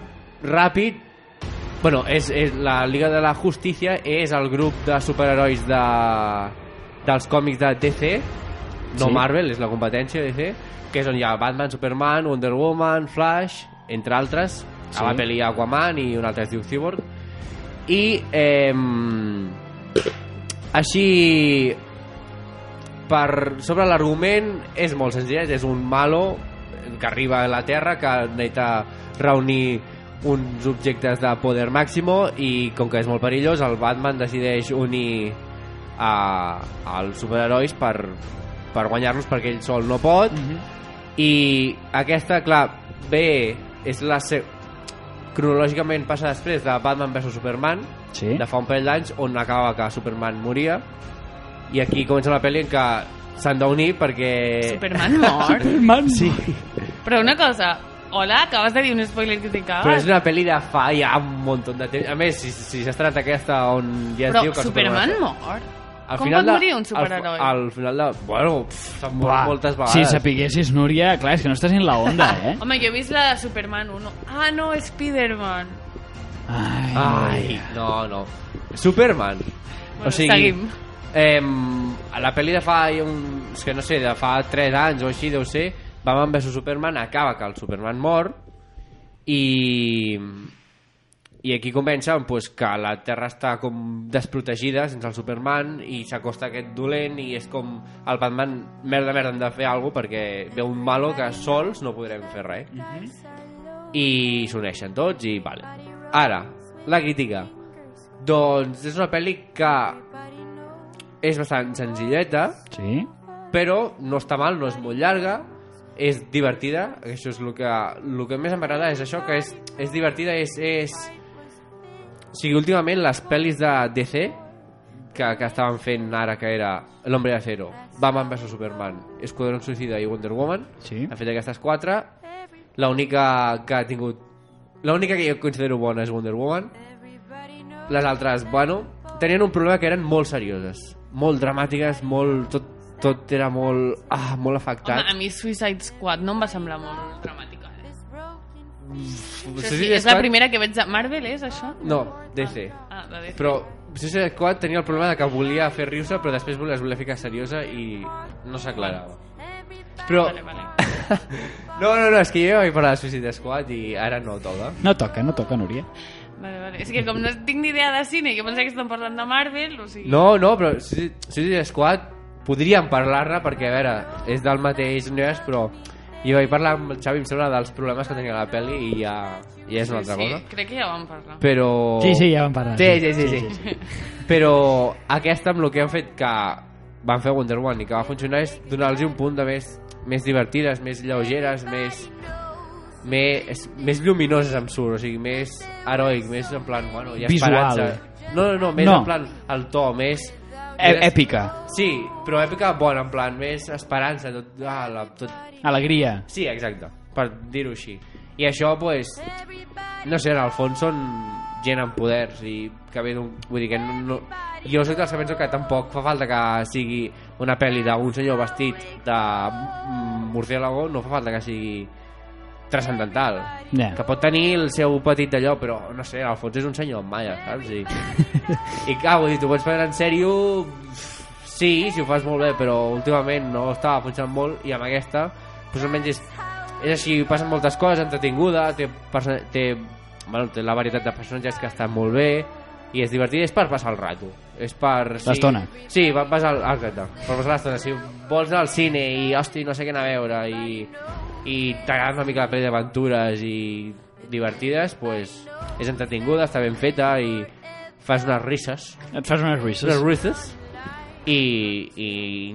Speaker 3: ràpid... Bueno, és, és la Liga de la Justícia és el grup de superherois de, dels còmics de DC, no
Speaker 2: Sí.
Speaker 3: sí. Marvel, és la competència de DC, que és on hi ha Batman, Superman, Wonder Woman, Flash, entre altres.
Speaker 2: Sí.
Speaker 3: Sí. A la pel·li hi ha Aquaman i un altre es diu Cyborg. I eh, així per, sobre l'argument és molt senzill, és un malo que arriba a la Terra que necessita reunir uns objectes de poder màximo i com que és molt perillós el Batman decideix unir a, als superherois per, per guanyar-los perquè ell sol no pot
Speaker 2: Uh -huh.
Speaker 3: i aquesta, clar, bé és la se... cronològicament passa després de Batman vs Superman
Speaker 2: Sí.
Speaker 3: de fa un parell d'anys on acaba que Superman moria i aquí comença la pel·li en què s'han d'unir perquè...
Speaker 4: Superman mort?
Speaker 2: Man, sí.
Speaker 4: Però una cosa, hola, acabes de dir un spoiler que t'hi
Speaker 3: Però és
Speaker 4: cagues.
Speaker 3: una pel·li de fa ja un munt de temps. A més, si, si s'ha estrenat aquesta on ja es
Speaker 4: Però
Speaker 3: diu que...
Speaker 4: Superman mort?
Speaker 3: Al
Speaker 4: Com
Speaker 3: final
Speaker 4: pot
Speaker 3: de-
Speaker 4: morir un superheroi?
Speaker 3: Al, al final eh? de... Bueno, pff, s'han mort moltes vegades.
Speaker 2: Si sapiguessis, Núria, clar, és que no estàs en la onda, eh?
Speaker 4: Ah, Home, jo he vist la de Superman 1. Ah, no, Spiderman.
Speaker 2: Ai,
Speaker 3: Ai, no, no. Superman.
Speaker 4: Bueno, seguim.
Speaker 3: Em, a la pel·li de fa un, és que no sé, de fa 3 anys o així, deu ser, Batman vs Superman acaba que el Superman mor i i aquí comença pues, que la Terra està com desprotegida sense el Superman i s'acosta aquest dolent i és com el Batman merda merda hem de fer alguna perquè ve un malo que sols no podrem fer res i s'uneixen tots i vale. Ara, la crítica. Doncs és una pel·li que és bastant senzilleta,
Speaker 2: Sí?
Speaker 3: però no està mal, no és molt llarga, és divertida, això és el que, el que més em agrada, és això, que és, és divertida, és... és... O sigui, últimament les pel·lis de DC que, que estaven fent ara que era L'Hombre de Acero, Batman vs Superman, Esquadron Suicida i Wonder Woman,
Speaker 2: Sí.
Speaker 3: han fet aquestes quatre, l'única que ha tingut... L'única que jo considero bona és Wonder Woman, les altres, bueno, tenien un problema que eren molt serioses, molt dramàtiques, molt... Tot, tot era molt... Ah, molt
Speaker 4: Home, a
Speaker 3: afectat.
Speaker 4: mi Suicide Squad no em va semblar molt dramàtica. Eh?
Speaker 3: Home,
Speaker 4: Això sí, és la primera que veig de Marvel, és això?
Speaker 3: No, DC.
Speaker 4: Ah, de DC.
Speaker 3: Però Suicide Squad tenia el problema de que volia fer riure, però després volia, es volia ficar seriosa i no s'aclarava. Però...
Speaker 4: Vale, vale.
Speaker 3: No, no, no, és que jo ja vaig parlar de Suicide Squad i ara no toca.
Speaker 2: No toca, no toca, Núria.
Speaker 4: Vale, vale. És que com no tinc ni idea de cine, jo pensava que estan parlant de Marvel, o sigui...
Speaker 3: No, no, però Suicide Suicide Squad podríem parlar-ne perquè, a veure, és del mateix univers, però jo vaig parlar amb el Xavi, em sembla, dels problemes que tenia la pel·li i ja, ja és una altra
Speaker 4: sí,
Speaker 3: cosa.
Speaker 4: crec que ja vam parlar.
Speaker 3: Però...
Speaker 2: Sí, sí, ja vam parlar.
Speaker 3: Oh. Sí, sí, sí, sí. Però aquesta amb el que han fet que van fer Wonder Woman i que va funcionar és donar-los un punt de més, més divertides, més lleugeres, més, més, més lluminoses em surt, o sigui, més heroic, més en plan, bueno, hi ha
Speaker 2: Visual.
Speaker 3: esperança. No, no, no, més
Speaker 2: No.
Speaker 3: en plan el to, més
Speaker 2: e- èpica.
Speaker 3: Sí, però èpica bona, en plan, més esperança, tot, ah, la, tot...
Speaker 2: Alegria.
Speaker 3: Sí, exacte, per dir-ho així. I això, pues, no sé, en el fons són gent amb poders i que ve d'un... Vull dir que no, no, jo soc dels que penso que tampoc fa falta que sigui una pel·li d'un senyor vestit de mm, murciélago, no fa falta que sigui transcendental.
Speaker 2: Ja.
Speaker 3: Que pot tenir el seu petit d'allò, però no sé, al fons és un senyor amb malla, saps? I, i clar, vull dir, tu pots fer en sèrio... Sí, si ho fas molt bé, però últimament no estava funcionant molt i amb aquesta, doncs almenys és, és així, passen moltes coses, entretinguda, té, perso- té, bueno, té la varietat de personatges que estan molt bé i és divertit, és per passar el rato. És per... sí,
Speaker 2: L'estona.
Speaker 3: Sí, va- vas al... ah, Exacte, per passar l'estona. Si vols anar al cine i, hosti, no sé què anar a veure i, i t'agrada una mica la pel·li d'aventures i divertides, pues, és entretinguda, està ben feta i fas unes risses.
Speaker 2: Et fas unes ruïsses.
Speaker 3: Unes risses. I, i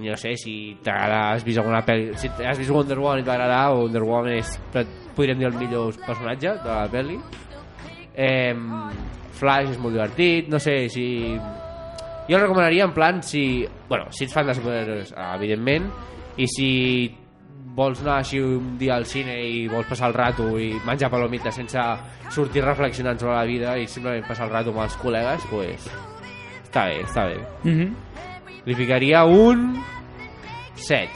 Speaker 3: no sé si t'agrada has vist alguna pel·li si has vist Wonder Woman i t'agrada Wonder Woman és podríem dir el millor personatge de la pel·li eh, Flash és molt divertit no sé si jo el recomanaria en plan si... Bueno, si ets fan de superherois, eh, evidentment, i si vols anar així un dia al cine i vols passar el rato i menjar palomites sense sortir reflexionant sobre la vida i simplement passar el rato amb els col·legues, pues, està bé, està bé.
Speaker 2: Mhm.
Speaker 3: Li ficaria un 7.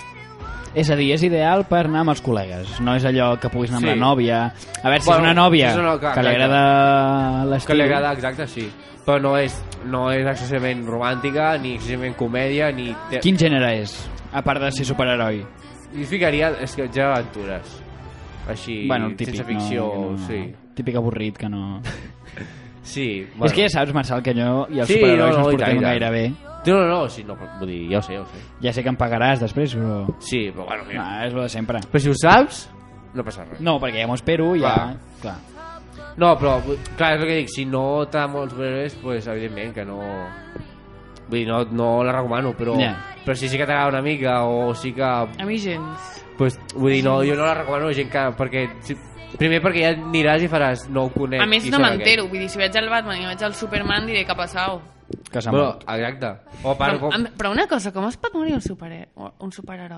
Speaker 2: És a dir, és ideal per anar amb els col·legues. No és allò que puguis anar amb
Speaker 3: Sí.
Speaker 2: la nòvia. A veure, si
Speaker 3: Bueno,
Speaker 2: és una nòvia
Speaker 3: si és una- clar,
Speaker 2: que li
Speaker 3: clar,
Speaker 2: agrada l'estiu...
Speaker 3: Que li agrada, exacte, sí. Però no és, no és excessivament romàntica, ni excessivament comèdia, ni... te-
Speaker 2: Quin gènere és? A part de ser superheroi.
Speaker 3: Li ficaria, és que ja aventures. Així,
Speaker 2: bueno, el típic,
Speaker 3: sense ficció,
Speaker 2: no, no, no.
Speaker 3: sí.
Speaker 2: Típic avorrit que no...
Speaker 3: Sí,
Speaker 2: Bueno. És que ja saps, Marçal, que jo i els
Speaker 3: no,
Speaker 2: sí, superherois no,
Speaker 3: no,
Speaker 2: no
Speaker 3: i tant, i
Speaker 2: ens portem
Speaker 3: tant.
Speaker 2: gaire bé.
Speaker 3: No, no, no, sí, no, però vull dir, ja ho sé, ja ho sé.
Speaker 2: Ja sé que em pagaràs després, però...
Speaker 3: Sí, però bueno,
Speaker 2: No,
Speaker 3: mira.
Speaker 2: és el de sempre.
Speaker 3: Però si ho saps, no passa res.
Speaker 2: Ah. No, perquè ja m'ho espero i ja...
Speaker 3: Clar.
Speaker 2: Clar.
Speaker 3: No, però, vull- clar, és el que dic, si no t'agraden molt els superherois, doncs, pues, evidentment que no... Vull dir, no, no la recomano, però,
Speaker 2: Ja.
Speaker 3: però si sí que t'agrada una mica o sí que...
Speaker 4: A mi gens.
Speaker 3: Pues, vull dir, no, jo no la recomano a gent que... Perquè, si, primer perquè ja aniràs i faràs, no ho conec.
Speaker 4: A més,
Speaker 3: qui
Speaker 4: no
Speaker 3: serà
Speaker 4: m'entero. Vull dir, si veig el Batman i veig el Superman, diré que ha passat.
Speaker 2: Que s'ha
Speaker 3: Bueno,
Speaker 2: mort.
Speaker 3: exacte. O a part,
Speaker 4: Però,
Speaker 3: com,
Speaker 4: amb- però una cosa, com es pot morir un, super, un superheroi?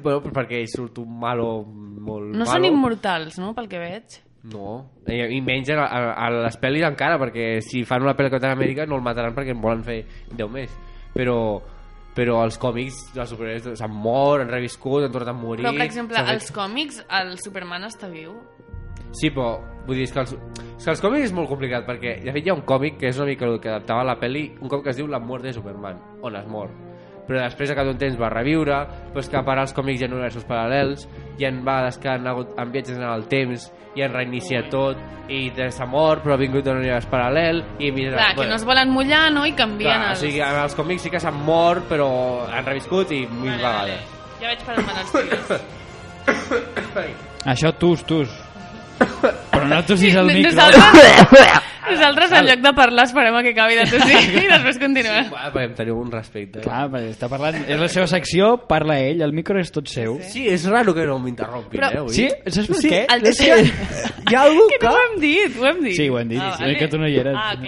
Speaker 3: bueno, perquè surt un malo molt
Speaker 4: No
Speaker 3: malo.
Speaker 4: són immortals, no?, pel que veig.
Speaker 3: No, i, i menys a, a, a les pel·lis encara, perquè si fan una pel·li de Capitán Amèrica no el mataran perquè en volen fer 10 més. Però, però els còmics, els superherois s'han mort, han reviscut, han tornat a morir...
Speaker 4: Però, per exemple,
Speaker 3: s'ha fet-
Speaker 4: als còmics, el Superman està viu.
Speaker 3: Sí, però vull dir, és que els, és que els còmics és molt complicat, perquè de fet hi ha un còmic que és una mica el que adaptava la pel·li, un còmic que es diu La mort de Superman, on es mor. Però després a cap d'un temps va reviure, va escapar als còmics i en universos paral·lels, i en va que han hagut en viatges en el temps, i en reinicia tot, i de- s'ha mort, però ha vingut d'un univers paral·lel, i mira...
Speaker 4: Clar, que no es volen mullar, no?, i canvien
Speaker 3: clar,
Speaker 4: els...
Speaker 3: o sigui, en els còmics sí que s'han mort, però han reviscut i mil
Speaker 4: Vale, vale.
Speaker 3: vegades.
Speaker 4: Ja vaig parar amb els tios.
Speaker 2: Això tus, tus. Però no tossis al micro.
Speaker 4: Nosaltres, nosaltres en lloc de parlar, esperem a que acabi de tossir i després continuem.
Speaker 3: Bueno, perquè em teniu un respecte.
Speaker 2: Clar, perquè està parlant... És la seva secció, parla ell, el micro és tot seu.
Speaker 3: Sí, és raro que no m'interrompin,
Speaker 4: Però-
Speaker 3: eh? avui.
Speaker 2: Sí? Saps per
Speaker 3: Sí,
Speaker 2: què?
Speaker 4: el-
Speaker 2: És que hi ha algú
Speaker 4: Que no ho hem dit, ho hem dit.
Speaker 2: Sí, ho hem dit, sí, que tu no hi eres.
Speaker 4: Ah,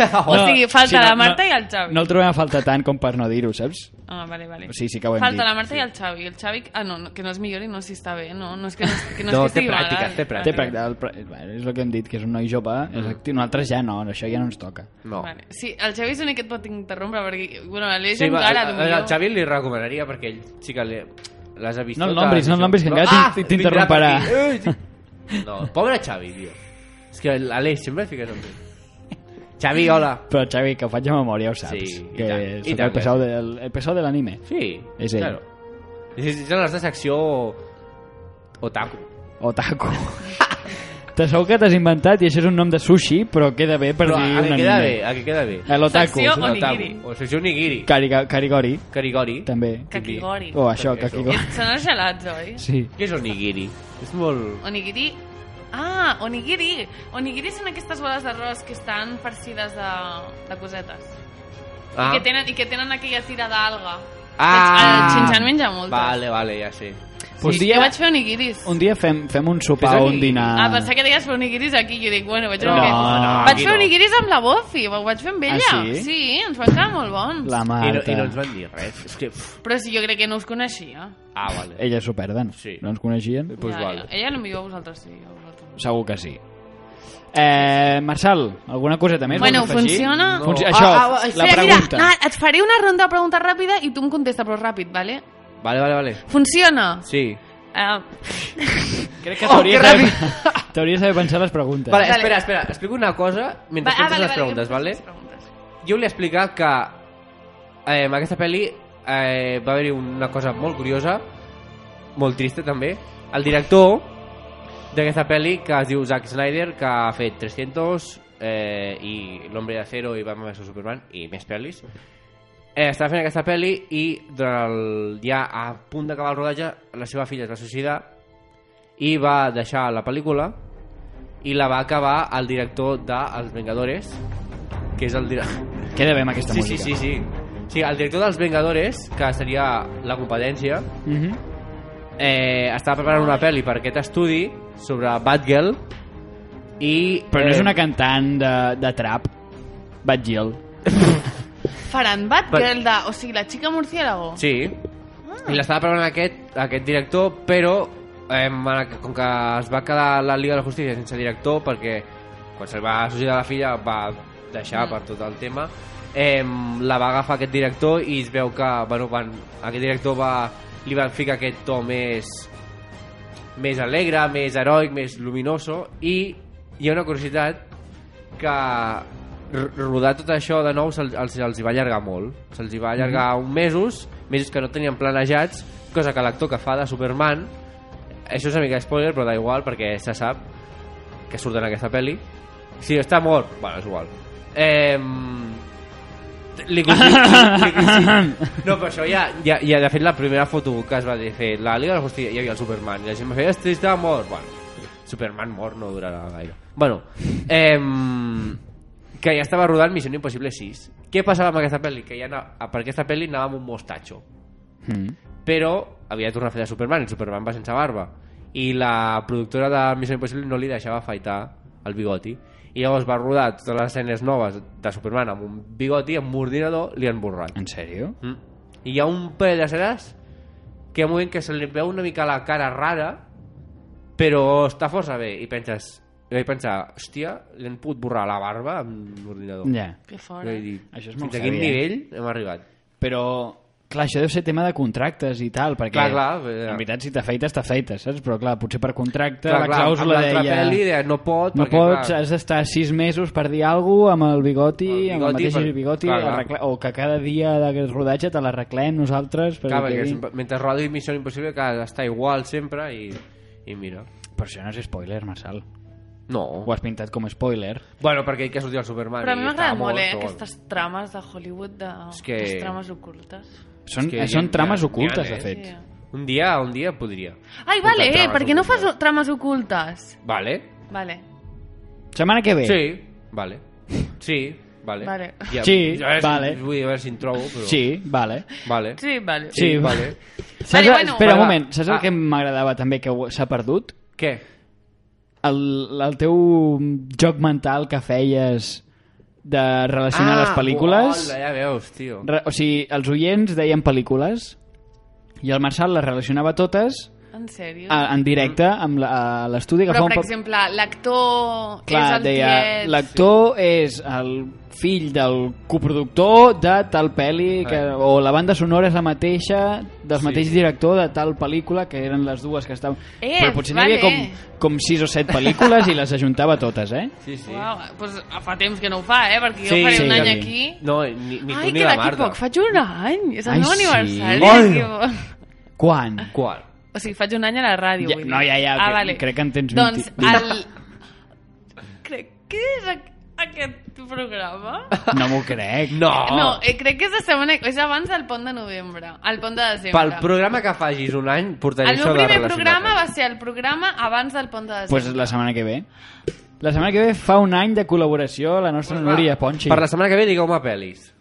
Speaker 4: clar. O sigui, falta la Marta i el Xavi.
Speaker 2: No el trobem a falta tant com per no dir-ho, saps?
Speaker 4: Ah, vale, vale.
Speaker 2: Sí, sí que ho hem
Speaker 4: Falta
Speaker 2: dit,
Speaker 4: la Marta i el Xavi. El Xavi, ah, no, no, que no es millori, no, si està bé, no, no és que no, és- que no,
Speaker 3: No,
Speaker 4: és que
Speaker 3: té
Speaker 4: estigui
Speaker 3: pràctica,
Speaker 4: malalt.
Speaker 3: té pràctica.
Speaker 2: Té pràctica, el, pra- bueno, és el que hem dit, que és un noi jove,
Speaker 3: Ah.
Speaker 2: és actiu. Nosaltres ja no, això ja no ens toca.
Speaker 3: No.
Speaker 4: Vale. Sí, el Xavi és l'únic que et pot interrompre, perquè, bueno, l'Aleix
Speaker 3: Sí, va,
Speaker 4: encara,
Speaker 3: a- a-
Speaker 4: potser.
Speaker 3: al Xavi li recomanaria perquè ell sí que li- les ha vist
Speaker 2: No el
Speaker 3: totes,
Speaker 2: nombris, no el
Speaker 3: això.
Speaker 2: nombris, que
Speaker 3: Però-
Speaker 2: encara t'in-
Speaker 3: Ah!
Speaker 2: t'interromparà.
Speaker 3: Vindrà per aquí. Ui, sí. No, pobre Xavi, tio. És que l'Aleix sempre et fica només. Xavi, hola.
Speaker 2: Però Xavi, que ho faig a memòria, ho saps.
Speaker 3: Sí, i
Speaker 2: que
Speaker 3: tant, i
Speaker 2: sóc
Speaker 3: tant
Speaker 2: el
Speaker 3: que
Speaker 2: pesau del, el pesau de l'anime.
Speaker 3: Sí,
Speaker 2: És ell.
Speaker 3: claro. És, és la nostra secció otaku.
Speaker 2: Otaku. Te segur que t'has inventat i això és un nom de sushi, però queda bé per
Speaker 3: Però a
Speaker 2: dir un
Speaker 3: que
Speaker 2: anime.
Speaker 3: queda bé, a que queda bé.
Speaker 2: L'otaku.
Speaker 4: Secció
Speaker 2: sí.
Speaker 4: Onigiri.
Speaker 3: Otaku, O secció onigiri.
Speaker 2: Cariga- Karigori,
Speaker 3: Carigori.
Speaker 2: també.
Speaker 4: Kakigori.
Speaker 2: O
Speaker 3: Això.
Speaker 2: això, Kakigori.
Speaker 4: Són els gelats, oi?
Speaker 2: Sí.
Speaker 3: Què és onigiri? És molt...
Speaker 4: Onigiri... Ah, onigiri! Onigiri són aquestes boles d'arròs que estan farcides de, de cosetes.
Speaker 3: Ah.
Speaker 4: I, que tenen, I que tenen aquella tira d'alga. Ah. El xinxan menja moltes.
Speaker 3: Vale, vale, ja sé.
Speaker 2: Pues
Speaker 4: Sí,
Speaker 2: dia-
Speaker 4: jo vaig fer onigiris.
Speaker 2: Un dia fem, fem un sopar
Speaker 3: Fes
Speaker 2: o
Speaker 3: aquí.
Speaker 2: un dinar.
Speaker 4: Ah, pensava que deies fer onigiris aquí. Jo dic, bueno, vaig fer
Speaker 2: No,
Speaker 4: onigiris.
Speaker 2: no,
Speaker 4: vaig
Speaker 3: aquí
Speaker 4: fer
Speaker 3: no.
Speaker 4: onigiris amb la Bofi, ho vaig fer amb ella.
Speaker 2: Ah, sí?
Speaker 4: sí, ens van quedar molt bons.
Speaker 2: La
Speaker 3: I no,
Speaker 2: Marta.
Speaker 3: I no ens van dir res. És que... Pff.
Speaker 4: Però si jo crec que no us coneixia.
Speaker 3: Ah, vale.
Speaker 2: Elles s'ho perden.
Speaker 3: Sí.
Speaker 2: No ens coneixien?
Speaker 3: Pues vale.
Speaker 4: ja. Ella potser a vosaltres sí, a vosaltres no.
Speaker 2: Segur que sí. Eh, Marçal, alguna coseta més?
Speaker 4: Bueno,
Speaker 2: vols afegir?
Speaker 4: funciona?
Speaker 2: Funci-
Speaker 3: No.
Speaker 2: Això,
Speaker 3: Ah, ah,
Speaker 2: la
Speaker 4: Espera,
Speaker 2: pregunta.
Speaker 4: Mira, ah, et faré una ronda de pregunta ràpida i tu em contesta, però ràpid, vale?
Speaker 3: Vale, vale, vale.
Speaker 4: Funciona?
Speaker 3: Sí.
Speaker 4: Ah,
Speaker 2: Crec que
Speaker 3: Oh,
Speaker 2: t'hauries
Speaker 3: que
Speaker 2: d'haver- t'hauries d'haver pensat les preguntes.
Speaker 3: Vale,
Speaker 4: Dale.
Speaker 3: espera, espera. Explico una cosa mentre
Speaker 4: va- ah,
Speaker 3: fem les preguntes,
Speaker 4: jo em faig
Speaker 3: vale?
Speaker 4: les preguntes.
Speaker 3: Jo volia explicar que eh, en aquesta pel·li eh, va haver-hi una cosa molt curiosa, molt trista també. El director d'aquesta pel·li, que es diu Zack Snyder, que ha fet 300 eh, i L'Hombre de Acero i Batman vs Superman i més pel·lis, eh, estava fent aquesta pel·li i durant el, ja a punt d'acabar el rodatge la seva filla es va suïcidar i va deixar la pel·lícula i la va acabar el director de Els Vengadores que és el director
Speaker 2: Queda bé amb aquesta
Speaker 3: Sí, sí, sí,
Speaker 2: música.
Speaker 3: sí. Sí, el director dels Vengadores, que seria la competència,
Speaker 2: Mhm.
Speaker 3: eh, estava preparant una pel·li per aquest estudi sobre Batgirl i...
Speaker 2: Però no
Speaker 3: eh,
Speaker 2: és una cantant de, de trap. Bad Gill.
Speaker 4: Faran Batgirl de... O sigui, la xica murciélago.
Speaker 3: Sí. I l'estava preparant aquest, aquest director, però eh, ma- com que es va quedar la Liga de la Justícia sense director perquè quan se li va suïcidar la filla va deixar per tot el tema eh, la va agafar aquest director i es veu que bueno, van, aquest director va, li van ficar aquest to més més alegre, més heroic, més luminoso i hi ha una curiositat que r- rodar tot això de nou se'ls els, els hi va allargar molt. Se'ls hi va allargar mm -hmm. uns mesos, mesos que no tenien planejats, cosa que l'actor que fa de Superman, això és una mica spoiler, però da igual, perquè se sap que surt en aquesta pel·li. Si està mort, bueno, és igual. Eh, li, coincid- li, coincid- no, però això ja, ja, ja, de fet, la primera foto que es va dir fer, la Liga de la Justícia, hi havia el Superman, i la gent va fer, "Este està mort, bueno, Superman mort no durarà gaire. Bueno, ehm, que ja estava rodant Missió Impossible 6. Què passava amb aquesta pel·li? Que ja anava, per aquesta pel·li anava amb un mostatxo
Speaker 2: Mm.
Speaker 3: però havia de tornar a fer de Superman i Superman va sense barba i la productora de Missió Impossible no li deixava afaitar el bigoti i llavors va rodar totes les escenes noves de Superman amb un bigoti, amb un ordinador li han borrat
Speaker 2: En sèrio?
Speaker 3: mm. i hi ha un parell d'escenes que hi ha un moment que se li veu una mica la cara rara però està força bé i penses i vaig pensar, hòstia, li han pogut borrar la barba amb l'ordinador.
Speaker 2: Ja.
Speaker 4: Que fort.
Speaker 3: Jo
Speaker 4: eh?
Speaker 3: vaig dir,
Speaker 2: Això és molt
Speaker 3: Fins a quin
Speaker 2: heavy, eh?"
Speaker 3: nivell hem arribat.
Speaker 2: Però, clar, això deu ser tema de contractes i tal, perquè...
Speaker 3: Clar, clar, eh.
Speaker 2: En veritat, si t'afeites, t'afeites, saps? Però, clar, potser per contracte,
Speaker 3: Clar,
Speaker 2: la
Speaker 3: clar, amb
Speaker 2: clàusula
Speaker 3: l'altra
Speaker 2: deia...
Speaker 3: pel·li deia, no pot,
Speaker 2: No eh,
Speaker 3: perquè,
Speaker 2: pots,
Speaker 3: clar.
Speaker 2: has d'estar sis mesos per dir alguna cosa amb el bigoti,
Speaker 3: El
Speaker 2: amb el
Speaker 3: bigoti,
Speaker 2: mateix
Speaker 3: per-
Speaker 2: bigoti,
Speaker 3: clar, clar.
Speaker 2: arregla... o que cada dia de rodatge te l'arreglem nosaltres. Perquè
Speaker 3: Clar, perquè
Speaker 2: quedi-
Speaker 3: sempre, mentre rodi Missió Impossible que està igual sempre i, i mira.
Speaker 2: Però això no és spoiler, Marçal.
Speaker 3: No.
Speaker 2: Ho has pintat com a spoiler.
Speaker 3: Bueno, perquè hi que sortir el Superman.
Speaker 4: Però a mi
Speaker 3: i
Speaker 4: m'agrada
Speaker 3: estava
Speaker 4: molt, eh,
Speaker 3: però bueno.
Speaker 4: aquestes trames de Hollywood, de...
Speaker 3: És que-
Speaker 4: les trames ocultes.
Speaker 2: Són,
Speaker 3: És que hi ha-
Speaker 2: són trames
Speaker 3: hi ha-
Speaker 2: ocultes,
Speaker 3: n'hi ha,
Speaker 2: de fet.
Speaker 4: Sí.
Speaker 3: Un dia, un dia podria.
Speaker 4: Ai,
Speaker 3: Portar
Speaker 4: vale, eh,
Speaker 3: trames
Speaker 4: per què no fas
Speaker 3: ocultes.
Speaker 4: trames ocultes?
Speaker 3: Vale.
Speaker 4: Vale.
Speaker 2: Setmana que ve.
Speaker 3: Sí. Vale. Sí. Vale.
Speaker 4: Vale.
Speaker 3: Ja,
Speaker 2: Sí,
Speaker 3: a veure
Speaker 2: vale.
Speaker 3: Si, vull dir, a veure si en trobo, però...
Speaker 2: Sí, vale.
Speaker 3: Vale.
Speaker 4: Sí, vale.
Speaker 2: Sí,
Speaker 3: Sí,
Speaker 2: vale.
Speaker 3: vale.
Speaker 2: Saps,
Speaker 4: Vale,
Speaker 2: Espera
Speaker 4: bueno.
Speaker 2: un
Speaker 3: Vale, va.
Speaker 2: moment, saps el
Speaker 3: Ah.
Speaker 2: que m'agradava també que ho- s'ha perdut?
Speaker 3: Què?
Speaker 2: El, el teu joc mental que feies de relacionar
Speaker 3: Ah,
Speaker 2: les pel·lícules...
Speaker 3: Hola, ja veus, tio.
Speaker 2: Re, o sigui, els oients deien pel·lícules i el Marçal les relacionava totes
Speaker 4: En sèrio?
Speaker 3: Ah,
Speaker 2: a, en directe amb la- a l'estudi.
Speaker 4: Mm. Però,
Speaker 2: agafava
Speaker 4: per
Speaker 2: un pa-
Speaker 4: exemple, l'actor és
Speaker 2: Clar,
Speaker 4: el
Speaker 2: deia,
Speaker 4: tiet...
Speaker 2: l'actor és el fill del coproductor de tal pel·li que,
Speaker 3: Ah.
Speaker 2: o la banda sonora és la mateixa del
Speaker 3: Sí.
Speaker 2: mateix director de tal pel·lícula que eren les dues que estaven...
Speaker 4: Eh,
Speaker 2: Però potser n'hi
Speaker 4: vale.
Speaker 2: havia com, com sis o set pel·lícules i les ajuntava totes, eh?
Speaker 3: Sí, sí.
Speaker 4: Uau, doncs fa temps que no ho fa, eh? Perquè jo faré
Speaker 2: sí,
Speaker 4: un
Speaker 2: ja
Speaker 4: any
Speaker 2: vi.
Speaker 4: aquí.
Speaker 3: No, eh, ni, ni
Speaker 4: Ai,
Speaker 3: tu ni
Speaker 4: que
Speaker 3: la
Speaker 4: d'aquí
Speaker 3: Marta.
Speaker 4: poc faig un any. És
Speaker 2: Ai,
Speaker 4: el meu
Speaker 2: sí.
Speaker 4: aniversari.
Speaker 2: Bueno.
Speaker 4: tio.
Speaker 2: Quan?
Speaker 3: Qual?
Speaker 4: O sigui, faig un any a la ràdio.
Speaker 2: Ja-
Speaker 4: vull dir.
Speaker 2: no, ja, ja,
Speaker 4: Ah,
Speaker 2: que-
Speaker 4: vale.
Speaker 2: crec que en tens
Speaker 4: Doncs
Speaker 2: 20.
Speaker 4: el... Crec que és aqu- aquest programa?
Speaker 2: No m'ho crec.
Speaker 3: No.
Speaker 4: No, eh, crec que és, la setmana... és abans del pont de novembre. El pont de desembre.
Speaker 3: Pel programa que facis un any, portaré
Speaker 4: El
Speaker 3: això
Speaker 4: meu
Speaker 3: de
Speaker 4: primer
Speaker 3: relacionar-te.
Speaker 4: programa va ser el programa abans del pont de desembre.
Speaker 2: pues la setmana que ve. La setmana que ve fa un any de col·laboració la nostra
Speaker 3: Pues
Speaker 2: pues
Speaker 3: va,
Speaker 4: Ah.
Speaker 2: Núria Ponchi.
Speaker 3: Per la setmana que ve digueu-me pel·lis.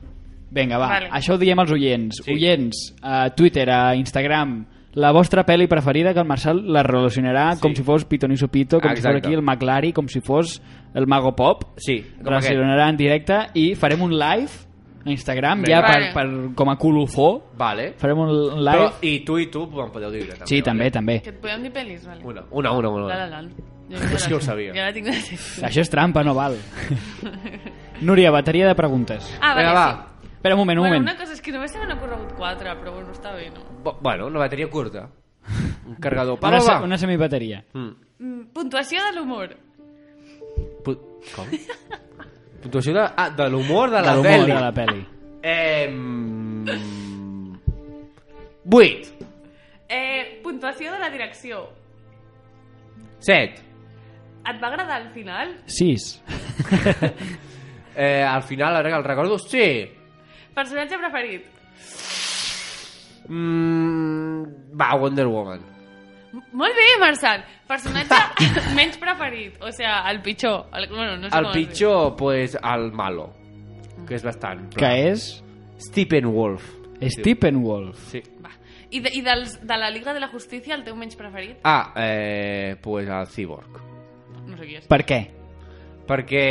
Speaker 2: Vinga, va.
Speaker 4: Vale.
Speaker 2: Això ho diem als oients.
Speaker 3: Sí.
Speaker 2: Oients, a Twitter, a Instagram, la vostra pel·li preferida que el Marcel la relacionarà
Speaker 3: Sí.
Speaker 2: com si fos Pitoniso Pito, com si fos
Speaker 3: Exacte.
Speaker 2: aquí el McLari, com si fos el Mago Pop.
Speaker 3: Sí, com aquest.
Speaker 2: relacionarà en directe i farem un live a Instagram
Speaker 3: Vinga.
Speaker 2: ja per,
Speaker 4: Vale.
Speaker 2: per, com a colofó.
Speaker 3: Vale.
Speaker 2: Farem un live.
Speaker 3: Però, I tu i tu em podeu dir. També,
Speaker 2: E- sí, també,
Speaker 3: vale?
Speaker 2: també.
Speaker 4: Que et podem dir pel·lis, vale?
Speaker 3: Una, una, una. una.
Speaker 4: La La Land. Jo ja
Speaker 3: Sí
Speaker 4: la-
Speaker 3: ho sabia.
Speaker 4: Ja la tinc de ser.
Speaker 2: Això és trampa, no val. Núria, bateria de preguntes.
Speaker 4: Ah, vale,
Speaker 3: Vinga, va.
Speaker 4: sí.
Speaker 2: Espera un moment, un
Speaker 4: bueno,
Speaker 2: moment.
Speaker 4: una cosa és que només se m'han ocorregut quatre, però bueno, està bé, no?
Speaker 3: Bo- Bueno, una bateria curta. Un cargador.
Speaker 2: Una,
Speaker 3: Pablo,
Speaker 2: se-
Speaker 3: va.
Speaker 2: una semibateria.
Speaker 3: Mm.
Speaker 4: Mm, puntuació de l'humor.
Speaker 3: Pu- Com? Puntuació de... Ah, de l'humor de
Speaker 2: De
Speaker 3: la
Speaker 2: l'humor
Speaker 3: pel·li. Em-
Speaker 2: de la pel·li.
Speaker 3: Ehm... 8.
Speaker 4: Eh, puntuació de la direcció.
Speaker 3: 7.
Speaker 4: Et va agradar al final?
Speaker 2: Sis.
Speaker 3: Eh, al final, ara que el recordo, sí.
Speaker 4: Personatge preferit?
Speaker 3: Mm, va, Wonder Woman.
Speaker 4: M- Molt bé, Marçal.
Speaker 2: Ah.
Speaker 4: Personatge menys preferit. O sea, el pitjor. El, bueno, no sé
Speaker 3: El
Speaker 4: com es diu.
Speaker 3: pitjor, pues, el malo. Que és bastant...
Speaker 2: Que és
Speaker 3: Stephen Wolf.
Speaker 2: Steppenwolf.
Speaker 3: Sí.
Speaker 4: Va. I, de, i dels, de la Liga de la Justícia, el teu menys preferit?
Speaker 3: Ah, eh, pues el Cyborg.
Speaker 4: No sé qui és.
Speaker 2: Per què?
Speaker 3: Perquè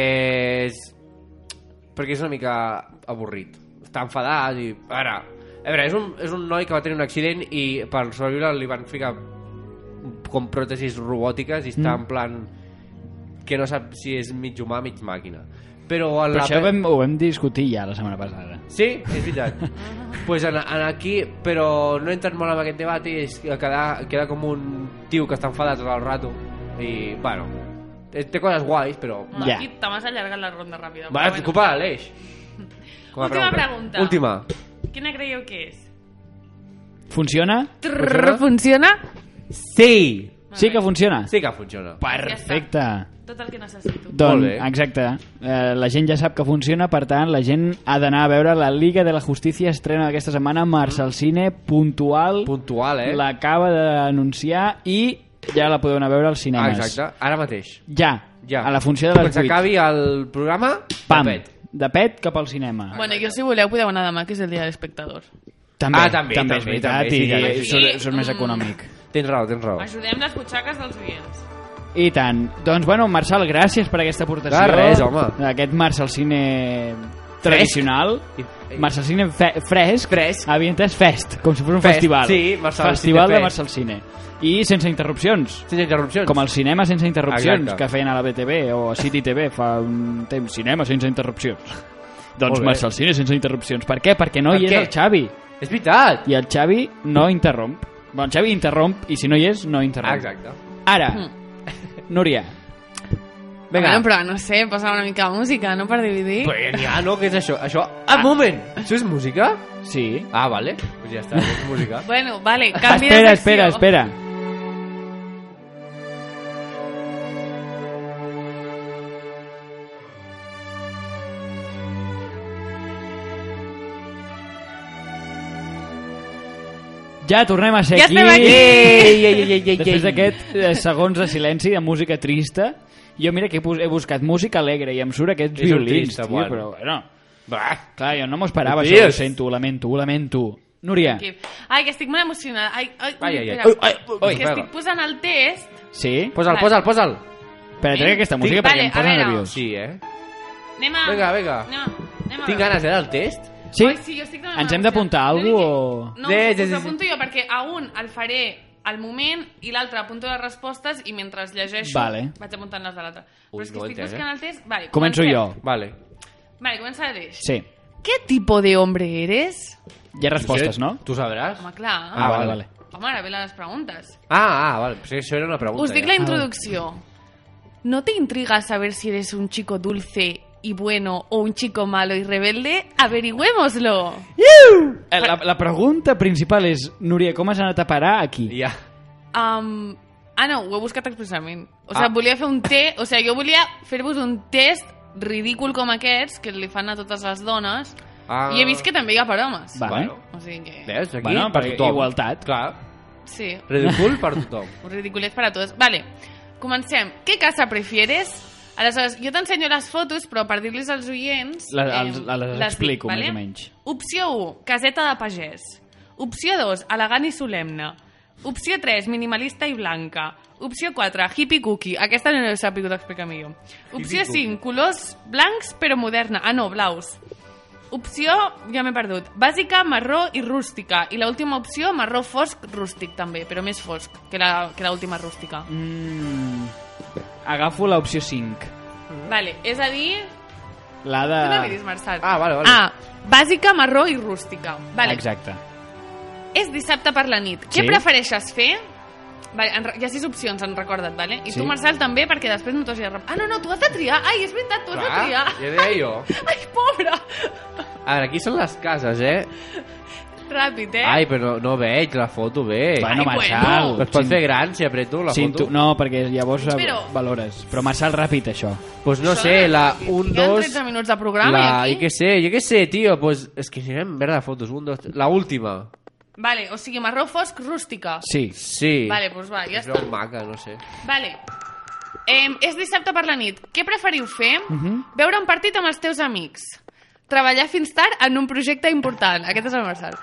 Speaker 3: és... Perquè és una mica avorrit. Està enfadat i... Ara, a veure, és un, és un noi que va tenir un accident i per sobreviure li van ficar com pròtesis robòtiques i està
Speaker 2: Mm.
Speaker 3: en plan que no sap si és mig humà, mig màquina. Però, en
Speaker 2: Però
Speaker 3: la
Speaker 2: això
Speaker 3: pe-
Speaker 2: ho vam, ho vam discutir ja la setmana passada.
Speaker 3: Sí, és veritat. pues en, en aquí, però no he entrat molt en aquest debat i és que queda, queda com un tio que està enfadat tot el rato i, bueno, té té coses guais, però...
Speaker 4: Bueno,
Speaker 2: Ja.
Speaker 4: Aquí te m'has allargat la ronda ràpida.
Speaker 3: Va,
Speaker 4: però
Speaker 3: disculpa, l'Aleix. Com a
Speaker 4: Ah, Última pregunta.
Speaker 3: Última.
Speaker 4: Quina creieu que és?
Speaker 2: Pues Funciona?
Speaker 4: Trrr, funciona?
Speaker 3: Sí!
Speaker 2: Sí que funciona.
Speaker 3: Sí que funciona.
Speaker 2: Perfecte.
Speaker 4: Tot el que necessito.
Speaker 2: Doncs,
Speaker 3: Molt bé.
Speaker 2: exacte. Eh, la gent ja sap que funciona, per tant, la gent ha d'anar a veure la Liga de la Justícia estrena aquesta setmana, Marcel Cine, puntual,
Speaker 3: Puntual, eh?
Speaker 2: l'acaba d'anunciar i ja la podeu anar a veure als
Speaker 3: Ah,
Speaker 2: cinemes.
Speaker 3: Exacte, ara mateix.
Speaker 2: Ja,
Speaker 3: Ja.
Speaker 2: a la funció de
Speaker 3: Quan
Speaker 2: les 8.
Speaker 3: s'acabi el programa,
Speaker 2: Pam,
Speaker 3: tapet.
Speaker 2: de pet cap al cinema.
Speaker 4: Bueno, jo si voleu podeu anar demà, que és el dia de l'espectador.
Speaker 2: També,
Speaker 3: Ah, també,
Speaker 2: també, és
Speaker 3: també,
Speaker 2: veritat,
Speaker 3: també, sí,
Speaker 2: i
Speaker 3: també,
Speaker 4: sí.
Speaker 2: surt, surt més
Speaker 4: Mm.
Speaker 2: econòmic.
Speaker 3: Tens raó, tens
Speaker 2: Oh.
Speaker 3: raó.
Speaker 4: Ajudem les butxaques dels oients.
Speaker 2: I tant. Doncs, bueno, Marçal, gràcies per aquesta aportació.
Speaker 3: De res, home.
Speaker 2: Aquest Marçal Cine tradicional.
Speaker 3: I-
Speaker 2: Marçal Cine fe fresc.
Speaker 3: Fresc.
Speaker 2: Havia entès fest, com si fos un
Speaker 3: Fest,
Speaker 2: festival.
Speaker 3: sí, Marçal
Speaker 2: Festival
Speaker 3: Cine
Speaker 2: de
Speaker 3: Fest.
Speaker 2: Marçal Cine. I sense interrupcions.
Speaker 3: Sense interrupcions.
Speaker 2: Com el cinema sense interrupcions
Speaker 3: Exacte.
Speaker 2: que feien a la BTV o a City TV fa un temps. Cinema sense interrupcions. Doncs
Speaker 3: Molt bé.
Speaker 2: Marçal Cine sense interrupcions. Per què? Perquè no
Speaker 3: Per
Speaker 2: hi
Speaker 3: què?
Speaker 2: és el Xavi.
Speaker 3: És veritat!
Speaker 2: I el Xavi no interromp. Bon, el Xavi interromp i si no hi és, no interromp.
Speaker 3: Ah, Exacte.
Speaker 2: Ara,
Speaker 4: Mm.
Speaker 2: Núria,
Speaker 4: Vinga.
Speaker 3: Vinga.
Speaker 4: Hm. Bueno, però no sé, posar una mica de música, no? Per dividir.
Speaker 2: Pues-
Speaker 3: Però ja no, què és això? Això... Ah, un moment! Això és música?
Speaker 2: sí,
Speaker 3: Ah, vale. Pues ja està, és música.
Speaker 4: Bueno, vale, canvi
Speaker 2: espera,
Speaker 4: de secció.
Speaker 2: espera, espera. Ja tornem a ser
Speaker 4: Ja
Speaker 2: aquí.
Speaker 4: estem aquí.
Speaker 3: Ei, ei, ei, ei, ei,
Speaker 2: Després
Speaker 3: ei.
Speaker 2: d'aquest eh, segons de silenci de música trista, jo mira que he, bus- he buscat música alegre i em surt aquests
Speaker 3: És un
Speaker 2: violins,
Speaker 3: trista,
Speaker 2: tio,
Speaker 3: bueno.
Speaker 2: però bueno,
Speaker 3: Bah.
Speaker 2: clar, jo no m'ho esperava,
Speaker 3: Ho
Speaker 2: això, ho
Speaker 3: dius?
Speaker 2: sento, ho lamento, ho lamento. Núria,
Speaker 4: Aquí. Ai, que estic molt emocionada. Ai, ai,
Speaker 3: Ai, ai, ai.
Speaker 4: espera.
Speaker 3: Ui, ai, ui,
Speaker 4: que
Speaker 3: espera.
Speaker 4: estic posant el test.
Speaker 2: sí?
Speaker 3: Posa'l, posa'l, posa'l.
Speaker 2: Espera, trec aquesta música
Speaker 4: Vale,
Speaker 2: perquè em
Speaker 4: a
Speaker 2: posa
Speaker 4: veure.
Speaker 2: nerviós.
Speaker 3: Sí, eh?
Speaker 4: Anem a...
Speaker 3: Vinga, vinga.
Speaker 4: Anem a... Anem a
Speaker 3: Tinc
Speaker 4: veure.
Speaker 3: ganes, eh, del test?
Speaker 2: Sí?
Speaker 4: Ai, sí, jo estic demanant
Speaker 2: Ens hem d'apuntar a
Speaker 4: opcions.
Speaker 2: algú o...?
Speaker 4: No,
Speaker 3: Sí, sí,
Speaker 4: us,
Speaker 3: sí,
Speaker 4: us
Speaker 3: sí.
Speaker 4: apunto jo, perquè a un el faré al moment i l'altre apunto les respostes i mentre es llegeixo
Speaker 2: Vale.
Speaker 4: vaig apuntant les de l'altre.
Speaker 3: Ui, eh?
Speaker 4: Però és que
Speaker 3: no ho
Speaker 4: estic
Speaker 3: entenc,
Speaker 4: buscant el test... Vale,
Speaker 2: Començo
Speaker 4: comencem.
Speaker 2: jo.
Speaker 3: Vale.
Speaker 4: Vale, comença el test.
Speaker 2: Sí.
Speaker 4: ¿Qué tipo de hombre eres?
Speaker 2: Hi ha respostes, no?
Speaker 3: Tu sabràs?
Speaker 4: Home, clar.
Speaker 2: Ah,
Speaker 3: vale.
Speaker 2: vale, vale.
Speaker 4: Home, ara ve les preguntes.
Speaker 3: Ah, ah, vale. Pues això era una pregunta.
Speaker 4: Us dic
Speaker 3: ja.
Speaker 4: la introducció. ¿No te intriga saber si eres un chico dulce y bueno o un chico malo y rebelde? Averigüémoslo.
Speaker 2: Eh, La, la pregunta principal és, Núria, com has anat a parar aquí?
Speaker 3: Ja.
Speaker 4: Um, ah, no, ho he buscat expressament. O sigui,
Speaker 3: Ah.
Speaker 4: volia fer un te... O sigui, jo volia fer-vos un test ridícul com aquests que li fan a totes les dones
Speaker 3: Ah.
Speaker 4: i he vist que també hi ha per homes.
Speaker 2: Vale.
Speaker 3: Bueno.
Speaker 4: O sigui que...
Speaker 3: Veus? Aquí, Eh,
Speaker 2: Bueno,
Speaker 3: per
Speaker 2: perquè
Speaker 3: tothom.
Speaker 2: igualtat.
Speaker 3: Clar.
Speaker 4: Sí,
Speaker 3: Ridícul per tothom.
Speaker 4: un ridiculez para todos. Vale, comencem. Què casa prefieres? Aleshores, jo t'ensenyo les fotos, però per dir-los als oients...
Speaker 2: Les-
Speaker 4: em,
Speaker 2: els- les
Speaker 4: dic,
Speaker 2: explico, més o menys.
Speaker 4: Opció 1, caseta de pagès. Opció 2, elegant i solemne. Opció 3, minimalista i blanca. Opció 4, hippie cookie. Aquesta no l'he sabut explicar millor. Opció 5, colors blancs però moderna. Ah, no, blaus. Opció, ja m'he perdut, bàsica, marró i rústica. I l'última opció, marró fosc, rústic també, però més fosc que la- que l'última rústica.
Speaker 2: Mm, agafo l'opció 5.
Speaker 4: Vale, és a dir,
Speaker 2: La
Speaker 4: Tu no
Speaker 2: de...
Speaker 4: miris, Marçal.
Speaker 3: Mm. Ah, vale, vale.
Speaker 4: Ah, bàsica, marró i rústica. Vale.
Speaker 2: Exacte.
Speaker 4: És dissabte per la nit.
Speaker 2: Sí.
Speaker 4: Què prefereixes fer? Vale, en, re- hi ha sis opcions, en recorda't, vale? I
Speaker 2: Sí.
Speaker 4: tu, Marçal, també, perquè després no t'ho has de... rep- Ah, no, no, tu has de triar. Ai, és veritat, tu has de
Speaker 3: Clar,
Speaker 4: triar.
Speaker 3: ja deia jo.
Speaker 4: Ai, pobra.
Speaker 3: A veure, aquí són les cases, eh?
Speaker 4: Ràpid, eh?
Speaker 3: Ai, però no veig la foto bé.
Speaker 2: Bueno,
Speaker 4: Ai,
Speaker 2: Marçal...
Speaker 4: bueno.
Speaker 3: Es Doncs pot fer gran si apreto la
Speaker 2: Sin tu...
Speaker 3: foto?
Speaker 2: No, perquè llavors
Speaker 4: Espero.
Speaker 2: valores. Però Marçal, ràpid, això.
Speaker 3: Pues no
Speaker 4: Això
Speaker 3: sé,
Speaker 4: no
Speaker 3: la
Speaker 4: ràpid.
Speaker 3: 1,
Speaker 4: Hi han
Speaker 3: 2...
Speaker 4: 13 minuts de programa,
Speaker 3: la...
Speaker 4: i
Speaker 3: Jo
Speaker 4: aquí?
Speaker 3: què sé, jo què sé, tio. Pues és que si anem merda de fotos. 1, 2, 3... La última.
Speaker 4: Vale, o sigui, marró fosc, rústica.
Speaker 2: Sí.
Speaker 3: Sí.
Speaker 4: Vale, pues doncs va, ja
Speaker 3: és
Speaker 4: està.
Speaker 3: veu maca, no sé.
Speaker 4: Vale. Eh, és dissabte per la nit. Què preferiu fer?
Speaker 2: Mhm.
Speaker 4: Veure un partit amb els teus amics. Treballar fins tard en un projecte important. Aquest és el Marçal.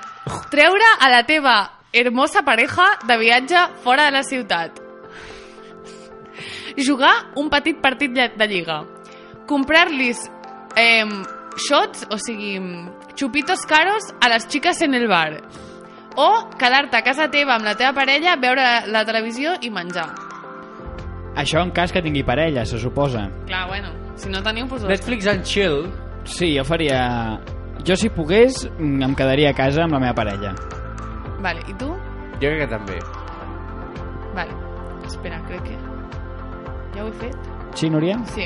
Speaker 4: Treure a la teva hermosa pareja de viatge fora de la ciutat. Jugar un petit partit lle- de lliga. Comprar-los eh, shots, o sigui, xupitos caros a les xiques en el bar. O quedar-te a casa teva amb la teva parella, veure la, la televisió i menjar.
Speaker 2: Això en cas que tingui parella, se suposa.
Speaker 4: Clar, bueno, si no teniu, doncs... Pues,
Speaker 3: Netflix and chill.
Speaker 2: Sí, jo faria... Jo, si pogués, mm, em quedaria a casa amb la meva parella.
Speaker 4: vale, i tu?
Speaker 3: Jo crec que també.
Speaker 4: Vale. Espera, crec que... Ja ho he fet?
Speaker 2: Sí, Núria?
Speaker 4: Sí.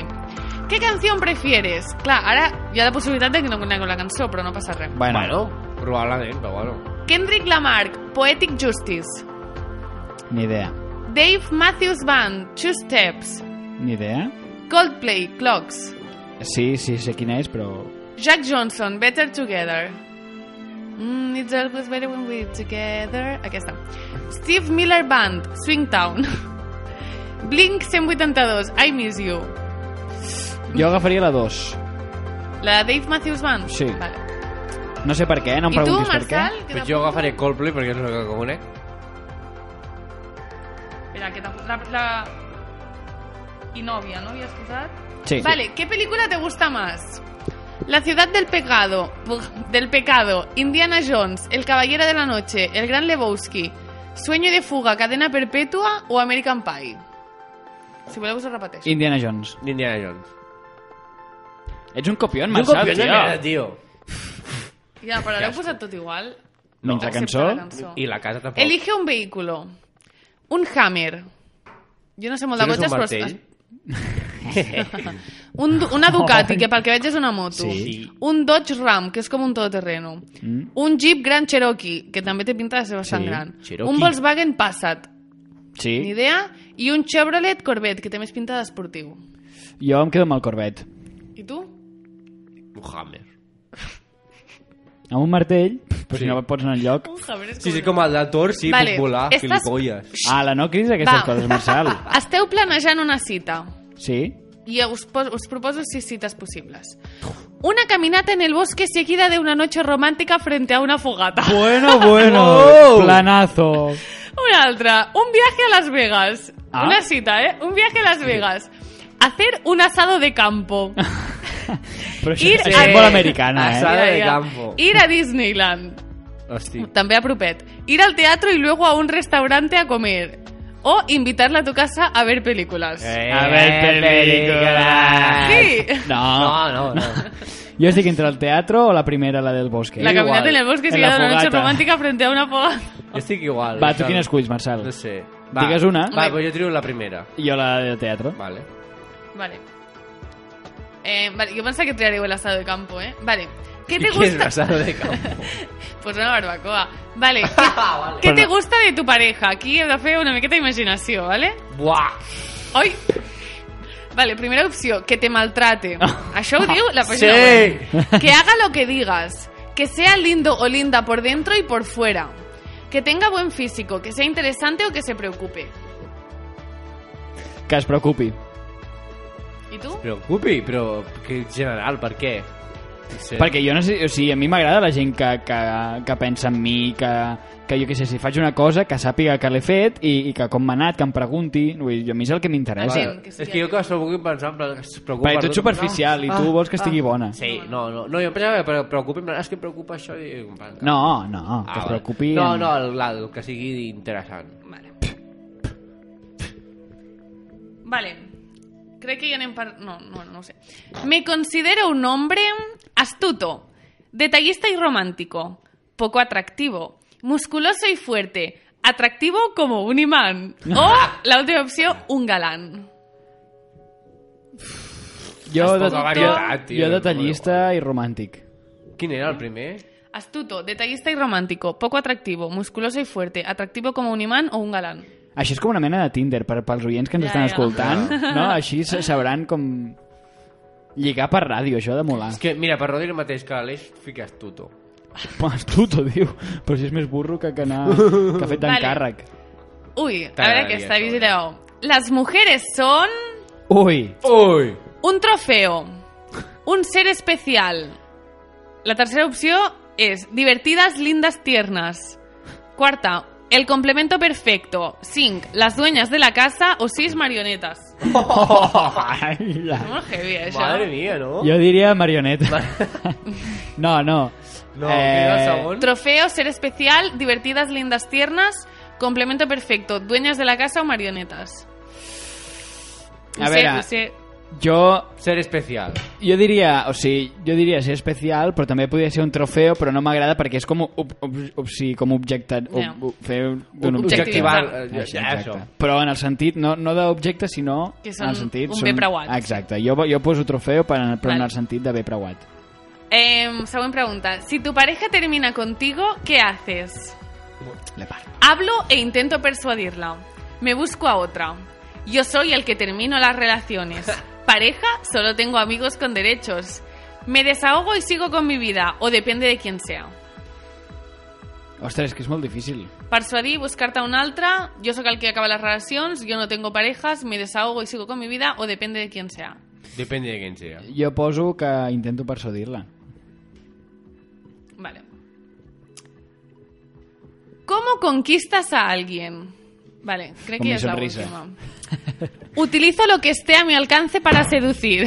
Speaker 4: Què canció prefieres? Clar, ara hi ha la possibilitat de que no conegui la cançó, però no passa res.
Speaker 2: Bueno,
Speaker 3: bueno probablement, però bueno.
Speaker 4: Kendrick Lamarck, Poetic Justice.
Speaker 2: ni idea.
Speaker 4: Dave Matthews Band, Two Steps.
Speaker 2: Ni idea.
Speaker 4: Coldplay, Clocks.
Speaker 2: Sí, sí, sé quina és, però...
Speaker 4: Jack Johnson, Better Together. Mm, it's always better when we're together. Aquesta. Steve Miller Band, Swingtown. Blink 182, I Miss You.
Speaker 2: Jo agafaria la 2.
Speaker 4: La de Dave Matthews Band?
Speaker 2: Sí.
Speaker 4: Vale.
Speaker 2: No sé per què, no em
Speaker 4: I tu,
Speaker 2: preguntis per què.
Speaker 4: Marçal?
Speaker 3: Però jo agafaré Pues Coldplay perquè és el que conec.
Speaker 4: Espera, que t'apu- la, la... I nòvia, no havies posat?
Speaker 2: Sí.
Speaker 4: Vale, ¿qué película te gusta más? La ciudad del pecado, del pecado, Indiana Jones, El caballero de la noche, El gran Lebowski, Sueño de fuga, Cadena perpetua o American Pie? Si voleu us ho repeteixo.
Speaker 2: Indiana Jones.
Speaker 3: Indiana Jones.
Speaker 2: Ets un copion, Marçal,
Speaker 3: copió de merda,
Speaker 2: tio.
Speaker 3: tio.
Speaker 4: Ja, però l'heu posat tot igual.
Speaker 2: Menys la
Speaker 4: excepte
Speaker 2: cançó.
Speaker 4: la cançó.
Speaker 3: I la casa tampoc.
Speaker 4: Elige un vehículo. Un Hammer. Jo no sé molt de
Speaker 3: Això no és
Speaker 4: cotxes,
Speaker 3: un
Speaker 4: però...
Speaker 3: martell?
Speaker 4: un, du- una Ducati, que pel que veig és una moto.
Speaker 2: Ah. Sí.
Speaker 4: Un Dodge Ram, que és com un todoterreno.
Speaker 2: Mm.
Speaker 4: Un Jeep Grand Cherokee, que també té pinta de ser bastant
Speaker 2: Sí,
Speaker 4: gran.
Speaker 3: Cherokee.
Speaker 4: Un Volkswagen Passat, ni
Speaker 2: Sí,
Speaker 4: idea. I un Chevrolet Corvette, que té més pinta d'esportiu.
Speaker 2: jo em quedo amb el Corvette.
Speaker 4: I tu?
Speaker 3: Un Hammer.
Speaker 2: Amb un martell, però si
Speaker 3: Sí.
Speaker 2: no pots anar enlloc...
Speaker 4: Un Hammer és
Speaker 3: Sí, sí, com el de Thor, sí, pues vale.
Speaker 4: Vale,
Speaker 3: puc volar,
Speaker 4: estàs-
Speaker 3: filipolles.
Speaker 2: Ala, Ah, no cridis aquestes
Speaker 4: Va.
Speaker 2: coses, Marçal.
Speaker 4: Esteu planejant una cita.
Speaker 2: Sí?
Speaker 4: Y os, pos- os propongo seis citas posibles. Una caminata en el bosque seguida de una noche romántica frente a una fogata.
Speaker 2: Bueno, bueno.
Speaker 3: Wow.
Speaker 2: Planazo.
Speaker 4: Una otra. Un viaje a Las Vegas.
Speaker 2: Ah.
Speaker 4: Una cita, ¿eh? Un viaje a Las Vegas. Hacer un asado de campo.
Speaker 2: Però això
Speaker 4: Ir
Speaker 2: és
Speaker 4: a-
Speaker 2: molt americana, eh?
Speaker 3: Asado. de campo.
Speaker 4: Ir a Disneyland.
Speaker 3: Hosti.
Speaker 4: También a Prupet. Ir al teatro y luego a un restaurante a comer. O invitarla a tu casa a ver películas.
Speaker 3: Eh.
Speaker 2: A ver, películas.
Speaker 4: Sí.
Speaker 2: No.
Speaker 3: No, no, no.
Speaker 2: Jo estic entre el teatre o la primera, la del bosque.
Speaker 4: La caminata en el bosque
Speaker 2: En
Speaker 4: seguida
Speaker 2: la
Speaker 4: de una noche
Speaker 2: fogata.
Speaker 4: romántica frente a una fogata.
Speaker 3: Jo estic igual.
Speaker 2: Va,
Speaker 3: això.
Speaker 2: tu quina esculls, Marçal?
Speaker 3: No sé.
Speaker 2: Digues una.
Speaker 3: Va, però jo trio la primera.
Speaker 2: Jo la del teatre.
Speaker 3: Vale.
Speaker 4: Vale. Eh, vale, yo pensaba que triaría el asado de campo, ¿eh? Vale. ¿Qué te
Speaker 3: I què és
Speaker 4: gusta?
Speaker 3: l'asado de campo?
Speaker 4: pues una barbacoa. Vale. ¿Qué, qué te gusta de tu pareja? Aquí hem de fer una miqueta imaginación, ¿vale?
Speaker 3: Buah!
Speaker 4: Ai! Vale, primera opción, que te maltrate. Això ho diu la
Speaker 3: Sí!
Speaker 4: pàgina web. Que haga lo que digas. Que sea lindo o linda por dentro y por fuera. Que tenga buen físico, que sea interesante o que se preocupe.
Speaker 2: Que es preocupi.
Speaker 4: I tu?
Speaker 3: Preocupi, però que en general, per què? No sé.
Speaker 2: Perquè jo no sé, o sigui, a mi m'agrada la gent que, que, que pensa en mi, que, que jo què sé, si faig una cosa, que sàpiga que l'he fet i, i que com m'ha anat, que em pregunti. Vull dir, a mi és el que m'interessa.
Speaker 4: Entén. que
Speaker 3: que
Speaker 4: sí,
Speaker 3: és que jo que s'ho pugui pensar, però es preocupa...
Speaker 2: Perquè tu ets superficial i
Speaker 3: Ah,
Speaker 2: tu vols que estigui bona.
Speaker 3: Sí, no, no, no, jo em pensava que pre- preocupi, en plan, és que em preocupa això i...
Speaker 2: No, no, que es
Speaker 3: Ah, vale.
Speaker 2: preocupi...
Speaker 3: No,
Speaker 2: en-
Speaker 3: no, el, el, el que sigui interessant.
Speaker 4: Vale. Vale. Crec que ya no par... No, no, no sé. Me considero un hombre astuto, detallista y romántico, poco atractivo, musculoso y fuerte, atractivo como un imán. O, la última opción, un galán.
Speaker 2: Jo,
Speaker 3: Has
Speaker 2: de,
Speaker 3: poca varietat,
Speaker 2: jo,
Speaker 3: tio.
Speaker 2: jo detallista i romàntic.
Speaker 3: Quin era el primer?
Speaker 4: Astuto, detallista y romántico, poco atractivo, musculoso y fuerte, atractivo como un imán o un galán.
Speaker 2: Això és com una mena de Tinder per, pels oients que ens
Speaker 4: Ja,
Speaker 2: estan
Speaker 4: ja.
Speaker 2: escoltant, no? Així se- sabran com... Lligar per ràdio, això ha de molar.
Speaker 3: És que, mira, per no dir el mateix que l'Aleix, fiques tuto.
Speaker 2: Pues tu t'ho diu, però si és més burro que, que, anar, que ha fet
Speaker 4: Vale.
Speaker 2: d'encàrrec.
Speaker 4: Uy, a ver
Speaker 3: T'agradaria
Speaker 4: que está
Speaker 3: això,
Speaker 4: vigilado. Las mujeres son...
Speaker 2: Ui,
Speaker 3: Ui!
Speaker 4: Un trofeo. Un ser especial. La tercera opción es divertidas, lindas, tiernas. Cuarta, el complemento perfecto. Cinco, las dueñas de la casa o seis marionetas.
Speaker 3: Oh,
Speaker 2: Ala.
Speaker 4: Muy heavy, eh, això.
Speaker 3: Madre mia, no?
Speaker 2: Jo diria marioneta. No, no.
Speaker 3: No, que era el segon.
Speaker 4: Trofeo, ser especial, divertidas, lindas, tiernas, complemento perfecto, dueñas de la casa o marionetas.
Speaker 2: A
Speaker 4: Ho sé,
Speaker 2: veure.
Speaker 4: ho sé.
Speaker 2: Eh, Jo,
Speaker 3: Ser especial.
Speaker 2: jo diria, o sigui, jo diria ser especial, però també podria ser un trofeu, però no m'agrada perquè és com, ob, ob, ob, sí, com objecte, ob,
Speaker 4: Ja.
Speaker 2: ob, fer d'un objecte.
Speaker 4: Objectivar.
Speaker 3: eh, ja,
Speaker 2: Això, Ah, exacte.
Speaker 3: això.
Speaker 2: Però en el sentit, no, no d'objecte, sinó...
Speaker 4: Que
Speaker 2: en
Speaker 4: són
Speaker 2: el sentit,
Speaker 4: un bé preuat.
Speaker 2: Exacte, jo, jo poso trofeu, per, però en
Speaker 4: Vale.
Speaker 2: el sentit de bé preuat.
Speaker 4: Em, següent pregunta. Si tu pareja termina contigo, ¿qué haces?
Speaker 2: Le parlo.
Speaker 4: Hablo e intento persuadirla. Me busco a otra. Yo soy el que termino las relaciones. Pareja, solo tengo amigos con derechos. Me desahogo y sigo con mi vida, o depende de quién sea.
Speaker 2: Ostres, que és molt difícil.
Speaker 4: Persuadir, buscar-te un altre, jo sóc el que acaba les relacions, jo no tengo parejas, me desahogo y sigo con mi vida, o depende de quién sea.
Speaker 3: Depende de quin sigui.
Speaker 2: Jo poso que intento persuadir-la.
Speaker 4: Vale. ¿Cómo conquistas a alguien? Vale, creo
Speaker 2: Con
Speaker 4: que
Speaker 2: mi
Speaker 4: es la
Speaker 2: sonrisa.
Speaker 4: última. Utilizo lo que esté a mi alcance para seducir.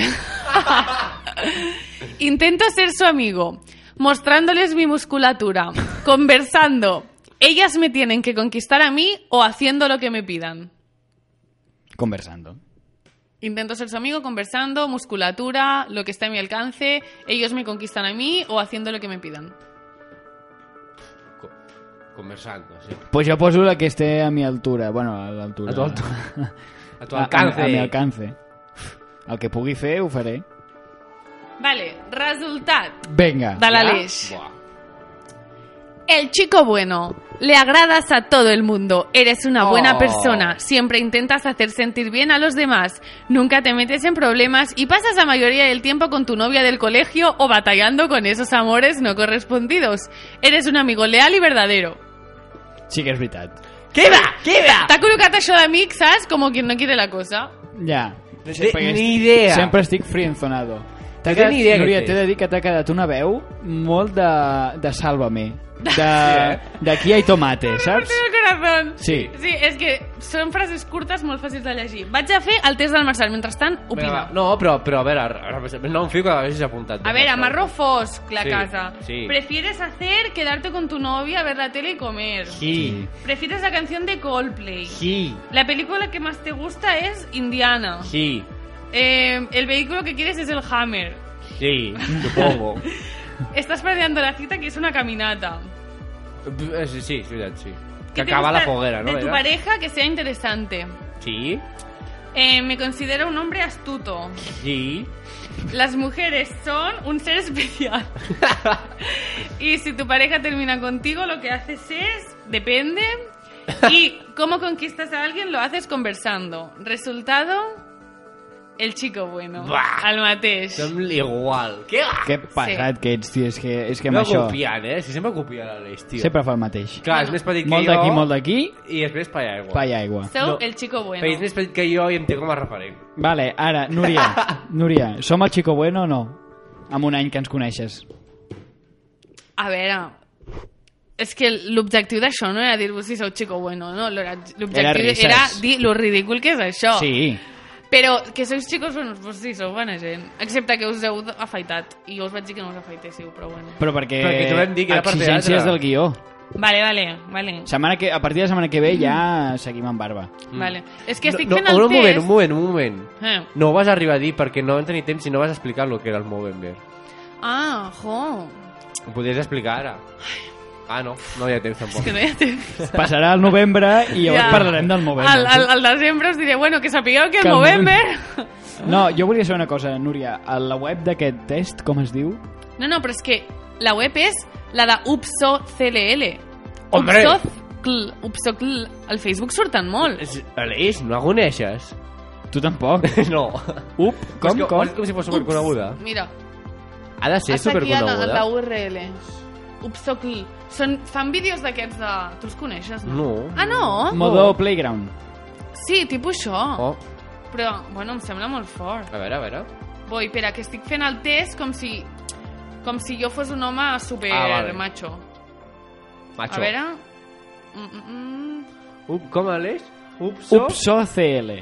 Speaker 4: Intento ser su amigo, mostrándoles mi musculatura, conversando. Ellas me tienen que conquistar a mí o haciendo lo que me pidan.
Speaker 2: Conversando.
Speaker 4: Intento ser su amigo, conversando, musculatura, lo que está a mi alcance. Ellos me conquistan a mí o haciendo lo que me pidan.
Speaker 3: Co- Conversando, sí.
Speaker 2: Pues jo poso la que esté a mi altura. Bueno, a l'altura.
Speaker 3: A tu altura. A tu alcance.
Speaker 2: A, a, a mi alcance. El que pugui fer, ho faré.
Speaker 4: Vale, resultado.
Speaker 2: Venga.
Speaker 4: de
Speaker 3: Ja?
Speaker 4: l'Aleix.
Speaker 3: Buah.
Speaker 4: El chico bueno. Le agradas a todo el mundo. Eres una buena
Speaker 3: Oh.
Speaker 4: persona. Siempre intentas hacer sentir bien a los demás. Nunca te metes en problemas y pasas la mayoría del tiempo con tu novia del colegio o batallando con esos amores no correspondidos. Eres un amigo leal y verdadero.
Speaker 2: Sí que és veritat.
Speaker 3: Queda, queda!
Speaker 4: T'ha col·locat això d'amic, saps? Com quien no quiere la cosa.
Speaker 2: Ja.
Speaker 3: No
Speaker 2: Sí,
Speaker 3: té
Speaker 2: perquè
Speaker 3: ni idea.
Speaker 2: Sempre estic frienzonado. T'ha
Speaker 3: No té ni idea què
Speaker 2: Núria,
Speaker 3: té.
Speaker 2: t'he de dir que t'ha quedat una veu molt de, de Sálvame. De,
Speaker 3: eh?
Speaker 2: d'aquí hay tomate, saps?
Speaker 4: Teu corazón.
Speaker 2: Sí.
Speaker 4: Sí, és que són frases curtes molt fàcils de llegir. Vaig a fer el test del Marçal. Mentrestant,
Speaker 3: Vinga,
Speaker 4: opina.
Speaker 3: va. No, però, però a veure, ara- ara- no em fico que l'Aleix s'ha apuntat.
Speaker 4: A ver, amarro fosc la
Speaker 3: Sí,
Speaker 4: casa.
Speaker 3: sí.
Speaker 4: ¿Prefieres hacer quedarte con tu novia, ver la tele y comer?
Speaker 3: Sí,
Speaker 4: ¿Prefieres la canción de Coldplay?
Speaker 3: sí,
Speaker 4: La película que más te gusta es Indiana.
Speaker 3: sí,
Speaker 4: Eh, el vehículo que quieres es el Hammer.
Speaker 3: sí, supongo.
Speaker 4: Estás planeando la cita que es una caminata.
Speaker 3: Eh, sí, sí, és veritat, sí. Que
Speaker 4: ¿Qué te
Speaker 3: acaba
Speaker 4: gusta
Speaker 3: la foguera, no?
Speaker 4: De tu
Speaker 3: Era?
Speaker 4: pareja que sea interesante.
Speaker 3: Sí,
Speaker 4: Eh, me considero un hombre astuto.
Speaker 3: sí,
Speaker 4: Las mujeres son un ser especial. y si tu pareja termina contigo, lo que haces es, depende. Y cómo conquistas a alguien, lo haces conversando. Resultado, El chico bueno.
Speaker 3: Buah.
Speaker 4: El mateix.
Speaker 3: Som igual. Què va?
Speaker 2: Que pesat que ets, tio. És que, és que amb
Speaker 3: No
Speaker 2: això
Speaker 3: copiant, eh? Si sempre copia l'Aleix, tio.
Speaker 2: sempre fa el mateix.
Speaker 3: Clar, és més petit que
Speaker 2: Molt
Speaker 3: jo.
Speaker 2: d'aquí, molt d'aquí,
Speaker 3: I després pa aigua.
Speaker 2: pa i aigua.
Speaker 4: Sou
Speaker 3: No.
Speaker 4: el chico bueno.
Speaker 3: Però és més petit que jo i em té com a referent.
Speaker 2: Vale, ara, Núria, Núria, som el Chico Bueno o no? Amb un any que ens coneixes.
Speaker 4: A veure... És que l'objectiu d'això no era dir-vos si sou chico bueno, no? L'era- L'objectiu
Speaker 2: Era
Speaker 4: era,
Speaker 2: risses.
Speaker 4: dir lo ridícul que és això.
Speaker 2: Sí,
Speaker 4: Però que sois xicos buenos, pues sí, sou bona gent. Excepte que us heu afaitat. I jo us vaig dir que no us afaitéssiu, però bueno.
Speaker 2: però perquè...
Speaker 3: Perquè t'ho vam dir que era per
Speaker 2: exigències
Speaker 3: teatre.
Speaker 2: del guió.
Speaker 4: Vale, vale, vale.
Speaker 2: Setmana que, a partir de la setmana que ve ja seguim amb barba.
Speaker 4: vale. És que estic
Speaker 3: mm. no,
Speaker 4: fent el
Speaker 3: no, un moment,
Speaker 4: test...
Speaker 3: un moment, un moment.
Speaker 4: Eh.
Speaker 3: No ho vas arribar a dir perquè no vam tenir temps i no vas explicar el que era el Movember.
Speaker 4: Ah, jo.
Speaker 3: Ho podries explicar ara. Ah, no, no hi ha temps tampoc.
Speaker 4: És que no hi ha temps.
Speaker 2: Passarà el novembre i llavors
Speaker 4: Ja.
Speaker 2: parlarem del Movember.
Speaker 4: Al, al, al desembre us diré, bueno, que sapigueu que el
Speaker 2: Que el
Speaker 4: Movember...
Speaker 2: No, jo volia saber una cosa, Núria. A la web d'aquest test, com es diu?
Speaker 4: No, no, però és que la web és la de Upso CLL.
Speaker 3: Hombre!
Speaker 4: UPSOCL, UPSOCL. Al Facebook surten molt.
Speaker 3: És- Aleix, no la coneixes?
Speaker 2: Tu tampoc.
Speaker 3: No. Up, és
Speaker 2: com,
Speaker 3: que,
Speaker 2: com?
Speaker 3: És com si fos superconeguda.
Speaker 4: Mira,
Speaker 3: Ha de ser
Speaker 4: està aquí a la, a la
Speaker 3: superconeguda.
Speaker 4: URL. UPSOCL. Són, fan vídeos d'aquests de... Tu els coneixes, no?
Speaker 3: No.
Speaker 4: Ah, no?
Speaker 2: Modo Playground.
Speaker 4: Sí, tipus això.
Speaker 3: Oh,
Speaker 4: Però, bueno, em sembla molt fort.
Speaker 3: a veure, a veure.
Speaker 4: Boi, espera, que estic fent el test com si... Com si jo fos un home super
Speaker 3: Ah, vale.
Speaker 4: macho.
Speaker 3: Macho.
Speaker 4: A veure... Mm, mm, mm.
Speaker 3: Up, com Aleix? oh. Upso?
Speaker 2: Upso CL.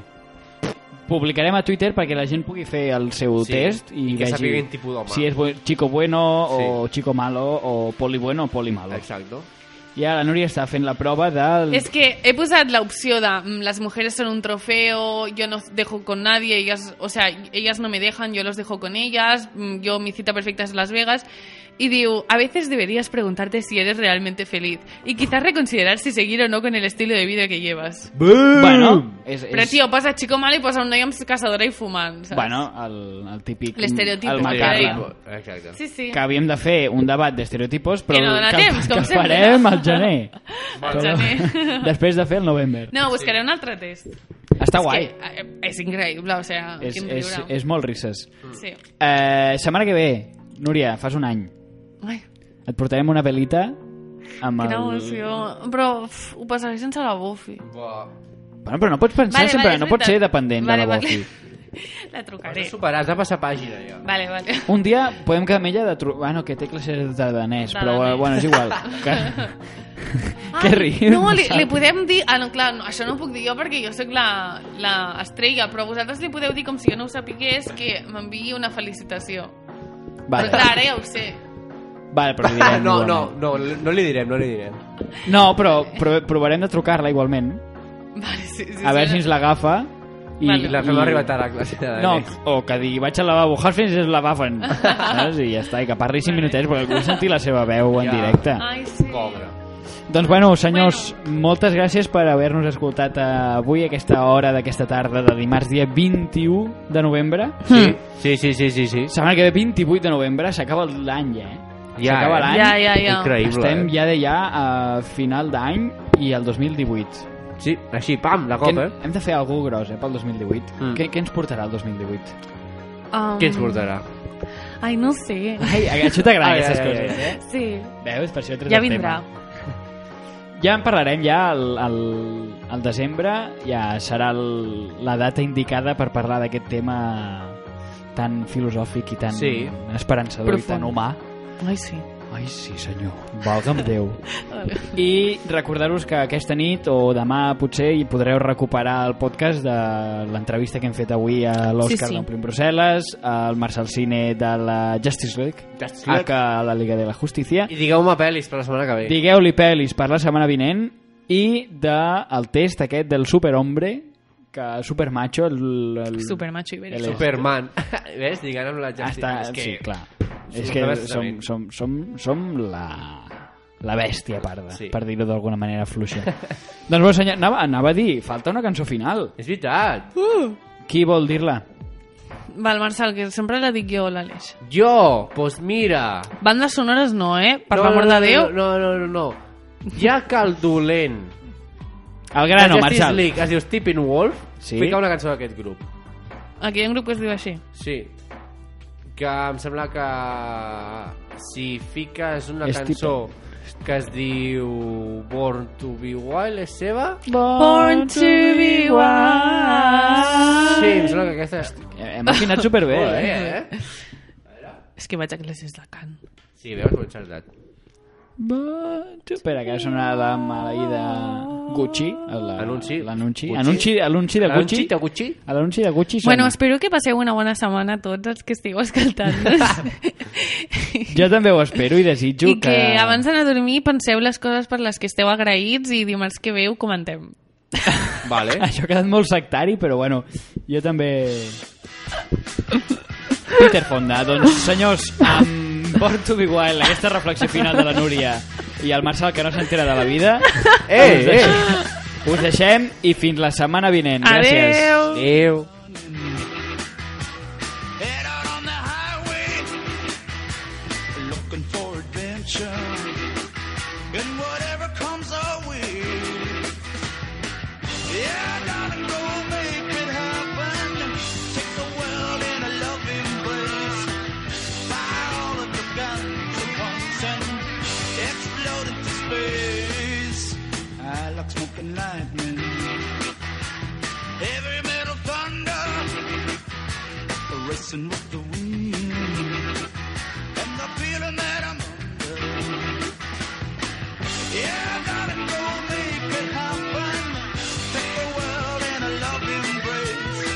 Speaker 2: Publicarem a Twitter perquè la gent pugui fer el seu
Speaker 3: Sí,
Speaker 2: test i,
Speaker 3: i que
Speaker 2: vegi
Speaker 3: sàpiga quin tipus d'home.
Speaker 2: si és bu- chico bueno
Speaker 3: Sí.
Speaker 2: o chico malo o poli bueno o poli malo.
Speaker 3: Exacto.
Speaker 2: I ara la Núria està fent la prova del...
Speaker 4: És que he posat l'opció de mm, las mujeres son un trofeo, yo no dejo con nadie, ellas, o sea, ellas no me dejan, yo los dejo con ellas, mm, yo mi cita perfecta es Las Vegas. Y digo, a veces deberías preguntarte si eres realmente feliz y quizás reconsiderar si seguir o no con el estilo de vida que llevas.
Speaker 2: Bueno, és, és...
Speaker 4: Pero tío, pasa chico malo y pasa un noi amb casadora i fumant, saps?
Speaker 2: Bueno, el, el típic...
Speaker 4: L'estereotip,
Speaker 2: El
Speaker 4: com
Speaker 2: macarra.
Speaker 4: deia.
Speaker 3: Exacte.
Speaker 4: Sí, sí.
Speaker 2: Que havíem de fer un debat d'estereotipos, però
Speaker 4: Que no dona
Speaker 2: que,
Speaker 4: temps, com
Speaker 2: que
Speaker 4: sempre.
Speaker 2: farem al gener.
Speaker 4: Al gener.
Speaker 2: Després de fer el novembre.
Speaker 4: No, buscaré un altre test.
Speaker 2: Està
Speaker 4: És
Speaker 2: guai.
Speaker 4: que, eh, és increïble, o sea,
Speaker 2: És,
Speaker 4: quin
Speaker 2: és,
Speaker 4: riure.
Speaker 2: és molt risses.
Speaker 4: Sí.
Speaker 2: Eh, setmana que ve, Núria, fas un any.
Speaker 4: Ai.
Speaker 2: Et portarem una velita amb
Speaker 4: Quina
Speaker 2: el...
Speaker 4: emoció. Però uf, ho passaré sense la Buffy.
Speaker 3: Buah.
Speaker 2: Bueno, però no pots pensar
Speaker 4: Vale,
Speaker 2: sempre,
Speaker 4: vale, és
Speaker 2: no pots
Speaker 4: veritat.
Speaker 2: ser dependent
Speaker 4: Vale,
Speaker 2: de la
Speaker 4: vale.
Speaker 2: Buffy.
Speaker 3: Has
Speaker 4: La
Speaker 3: de
Speaker 4: trucaré.
Speaker 3: superar, has de passar pàgina, ja.
Speaker 4: Vale, vale.
Speaker 2: Un dia podem quedar amb ella de tru... Bueno, que té classes de danès, però
Speaker 4: Danès.
Speaker 2: bueno, és igual. Que...
Speaker 4: Ai,
Speaker 2: Què rius?
Speaker 4: No, li, li podem dir... Ah, no, clar, no, això no ho puc dir jo perquè jo sóc la, la estrella, però vosaltres li podeu dir com si jo no ho sapigués que m'enviï una felicitació. Però clar, ara ja ho sé.
Speaker 2: vale, però li
Speaker 3: Ah,
Speaker 2: direm
Speaker 3: no, no,
Speaker 2: igualment.
Speaker 3: no, no li direm, no li direm.
Speaker 2: No, però pro provarem de trucar-la igualment,
Speaker 4: Vale, sí, sí,
Speaker 2: a veure si ens l'agafa. I,
Speaker 4: Vale.
Speaker 3: La fem
Speaker 2: i-
Speaker 3: arribar tard a classe de
Speaker 2: No,
Speaker 3: danès.
Speaker 2: o que digui, vaig al lavabo, Hastings és lavafen. Saps? I ja està, i que parli 5 minutets perquè vull sentir la seva veu en
Speaker 3: Ja.
Speaker 2: directe.
Speaker 4: Ai, sí.
Speaker 3: Cobra.
Speaker 2: Doncs bueno, senyors, moltes gràcies per haver-nos escoltat eh, avui, aquesta hora d'aquesta tarda de dimarts, dia 21 de novembre.
Speaker 4: Hm. Hmm.
Speaker 3: Sí, sí, sí, sí, sí. sí.
Speaker 2: Setmana que ve, 28 de novembre, s'acaba l'any, eh?
Speaker 3: Ja,
Speaker 2: S'acaba
Speaker 3: eh?
Speaker 2: l'any.
Speaker 4: Ja, ja, ja.
Speaker 3: Increïble.
Speaker 2: Estem
Speaker 3: eh?
Speaker 2: ja de ja a final d'any i el 2018.
Speaker 3: Sí, així, pam, de
Speaker 2: Que
Speaker 3: cop,
Speaker 2: hem,
Speaker 3: eh?
Speaker 2: hem de fer algú gros, eh, pel 2018.
Speaker 3: Mm.
Speaker 2: Què, què ens portarà el 2018?
Speaker 4: Um,
Speaker 3: Què ens portarà?
Speaker 4: Ai, no sé.
Speaker 2: Ai, això t'agrada,
Speaker 3: Ai,
Speaker 2: aquestes
Speaker 3: ai, ai,
Speaker 2: coses, eh?
Speaker 4: Sí.
Speaker 2: Veus, per això he tret
Speaker 4: Ja
Speaker 2: el
Speaker 4: vindrà.
Speaker 2: tema. Ja en parlarem ja al, al, al desembre, ja serà el, la data indicada per parlar d'aquest tema tan filosòfic i tan
Speaker 3: Sí.
Speaker 2: esperançador
Speaker 4: Profund.
Speaker 2: i tan humà.
Speaker 4: Ai, sí.
Speaker 2: Ai, sí, senyor. Valga'm Déu.
Speaker 4: Vale.
Speaker 2: I recordar-vos que aquesta nit o demà potser hi podreu recuperar el podcast de l'entrevista que hem fet avui a l'Òscar sí,
Speaker 4: Sí, sí.
Speaker 2: sí. d'Omplim Brussel·les, al Marcel Cine de la Justice League,
Speaker 3: Justice
Speaker 2: a
Speaker 3: League.
Speaker 2: que la Liga de la Justícia.
Speaker 3: I digueu-me pel·lis per la setmana que ve.
Speaker 2: Digueu-li pel·lis per la setmana vinent i de, el test aquest del superhombre que supermacho el, el...
Speaker 4: Supermacho ibérico.
Speaker 2: El-
Speaker 3: Superman. Ves? Digue'm amb la Justin.
Speaker 2: Està,
Speaker 3: És que...
Speaker 2: sí, clar.
Speaker 3: Sí,
Speaker 2: És que som,
Speaker 3: perfectament.
Speaker 2: som, som, som la, la bèstia parda,
Speaker 3: Sí.
Speaker 2: per dir-ho d'alguna manera fluixa. doncs bon senyor, anava, anava a dir, falta una cançó final.
Speaker 3: És veritat.
Speaker 2: Qui vol dir-la?
Speaker 4: Val, Marçal, que sempre la dic jo, l'Aleix.
Speaker 3: Jo, doncs pues mira...
Speaker 4: Bandes sonores no, eh? Per
Speaker 3: No,
Speaker 4: l'amor
Speaker 3: no,
Speaker 4: de Déu.
Speaker 3: No, no, no, no. no. Ja que el dolent...
Speaker 2: El grano,
Speaker 3: de Justice
Speaker 2: Marçal.
Speaker 3: League es diu Steppenwolf,
Speaker 2: Sí.
Speaker 3: fica una cançó d'aquest grup.
Speaker 4: Aquí hi ha un grup que es diu així.
Speaker 3: Sí. Que em sembla que si fiques una
Speaker 2: És
Speaker 3: cançó que es diu Born to be Wild és seva?
Speaker 4: Born to be wild.
Speaker 3: Sí, em sembla que aquesta...
Speaker 2: Hem afinat superbé,
Speaker 3: Molt
Speaker 2: eh?
Speaker 3: bé, eh?
Speaker 4: És que vaig a classes de cant.
Speaker 3: Sí, veus, ho he encertat.
Speaker 2: Espera, que ha sonat la maleïda Gucci. la-
Speaker 3: Anunci.
Speaker 2: L'anunci.
Speaker 3: Gucci.
Speaker 2: Anunci, anunci de Gucci.
Speaker 3: Anunci de Gucci?
Speaker 2: A l'anunci de Gucci sona.
Speaker 4: Bueno, espero que passeu una bona setmana a tots els que estigueu escoltant.
Speaker 2: Jo també ho espero i desitjo
Speaker 4: I que abans d'anar a dormir penseu les coses per les que esteu agraïts i dimarts que veu comentem.
Speaker 3: Vale.
Speaker 2: Eh, Això ha quedat molt sectari, però bueno, jo també... Peter Fonda, doncs senyors, amb Born to be Wild, aquesta reflexió final de la Núria i el Marcel que no s'entera de la vida,
Speaker 3: Eh,
Speaker 2: us, deixem, us deixem i fins la setmana vinent. Gràcies.
Speaker 4: Adeu!
Speaker 3: Adéu.
Speaker 1: Head out on the highway, looking for adventure. And whatever comes our way, yeah, darling, go make it happen. Take the world in a loving place. Buy all of the guns at once and explode into space. I like smoking lightning, heavy metal thunder racing with the wind and the feeling that I'm under. Yeah, I gotta go make it happen. Take the world in a loving embrace.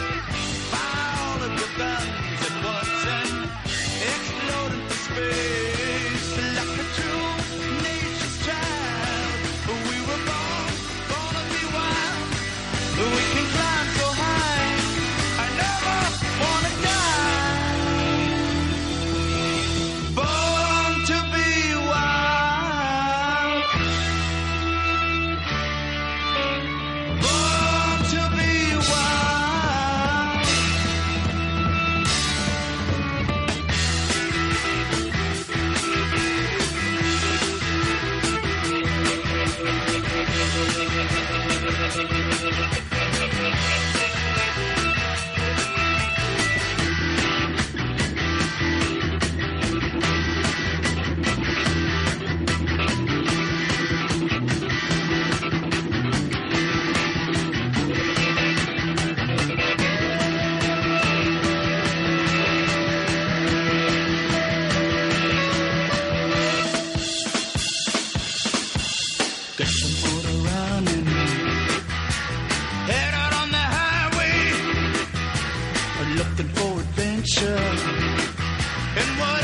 Speaker 1: Buy all of the guns at once and explode into space like a true nature's child. We were born, born to be wild. We can climb so high. I never wanna die. Born to be wild. Born to be wild. Gushing for the running. Head out on the highway. Looking for adventure. And what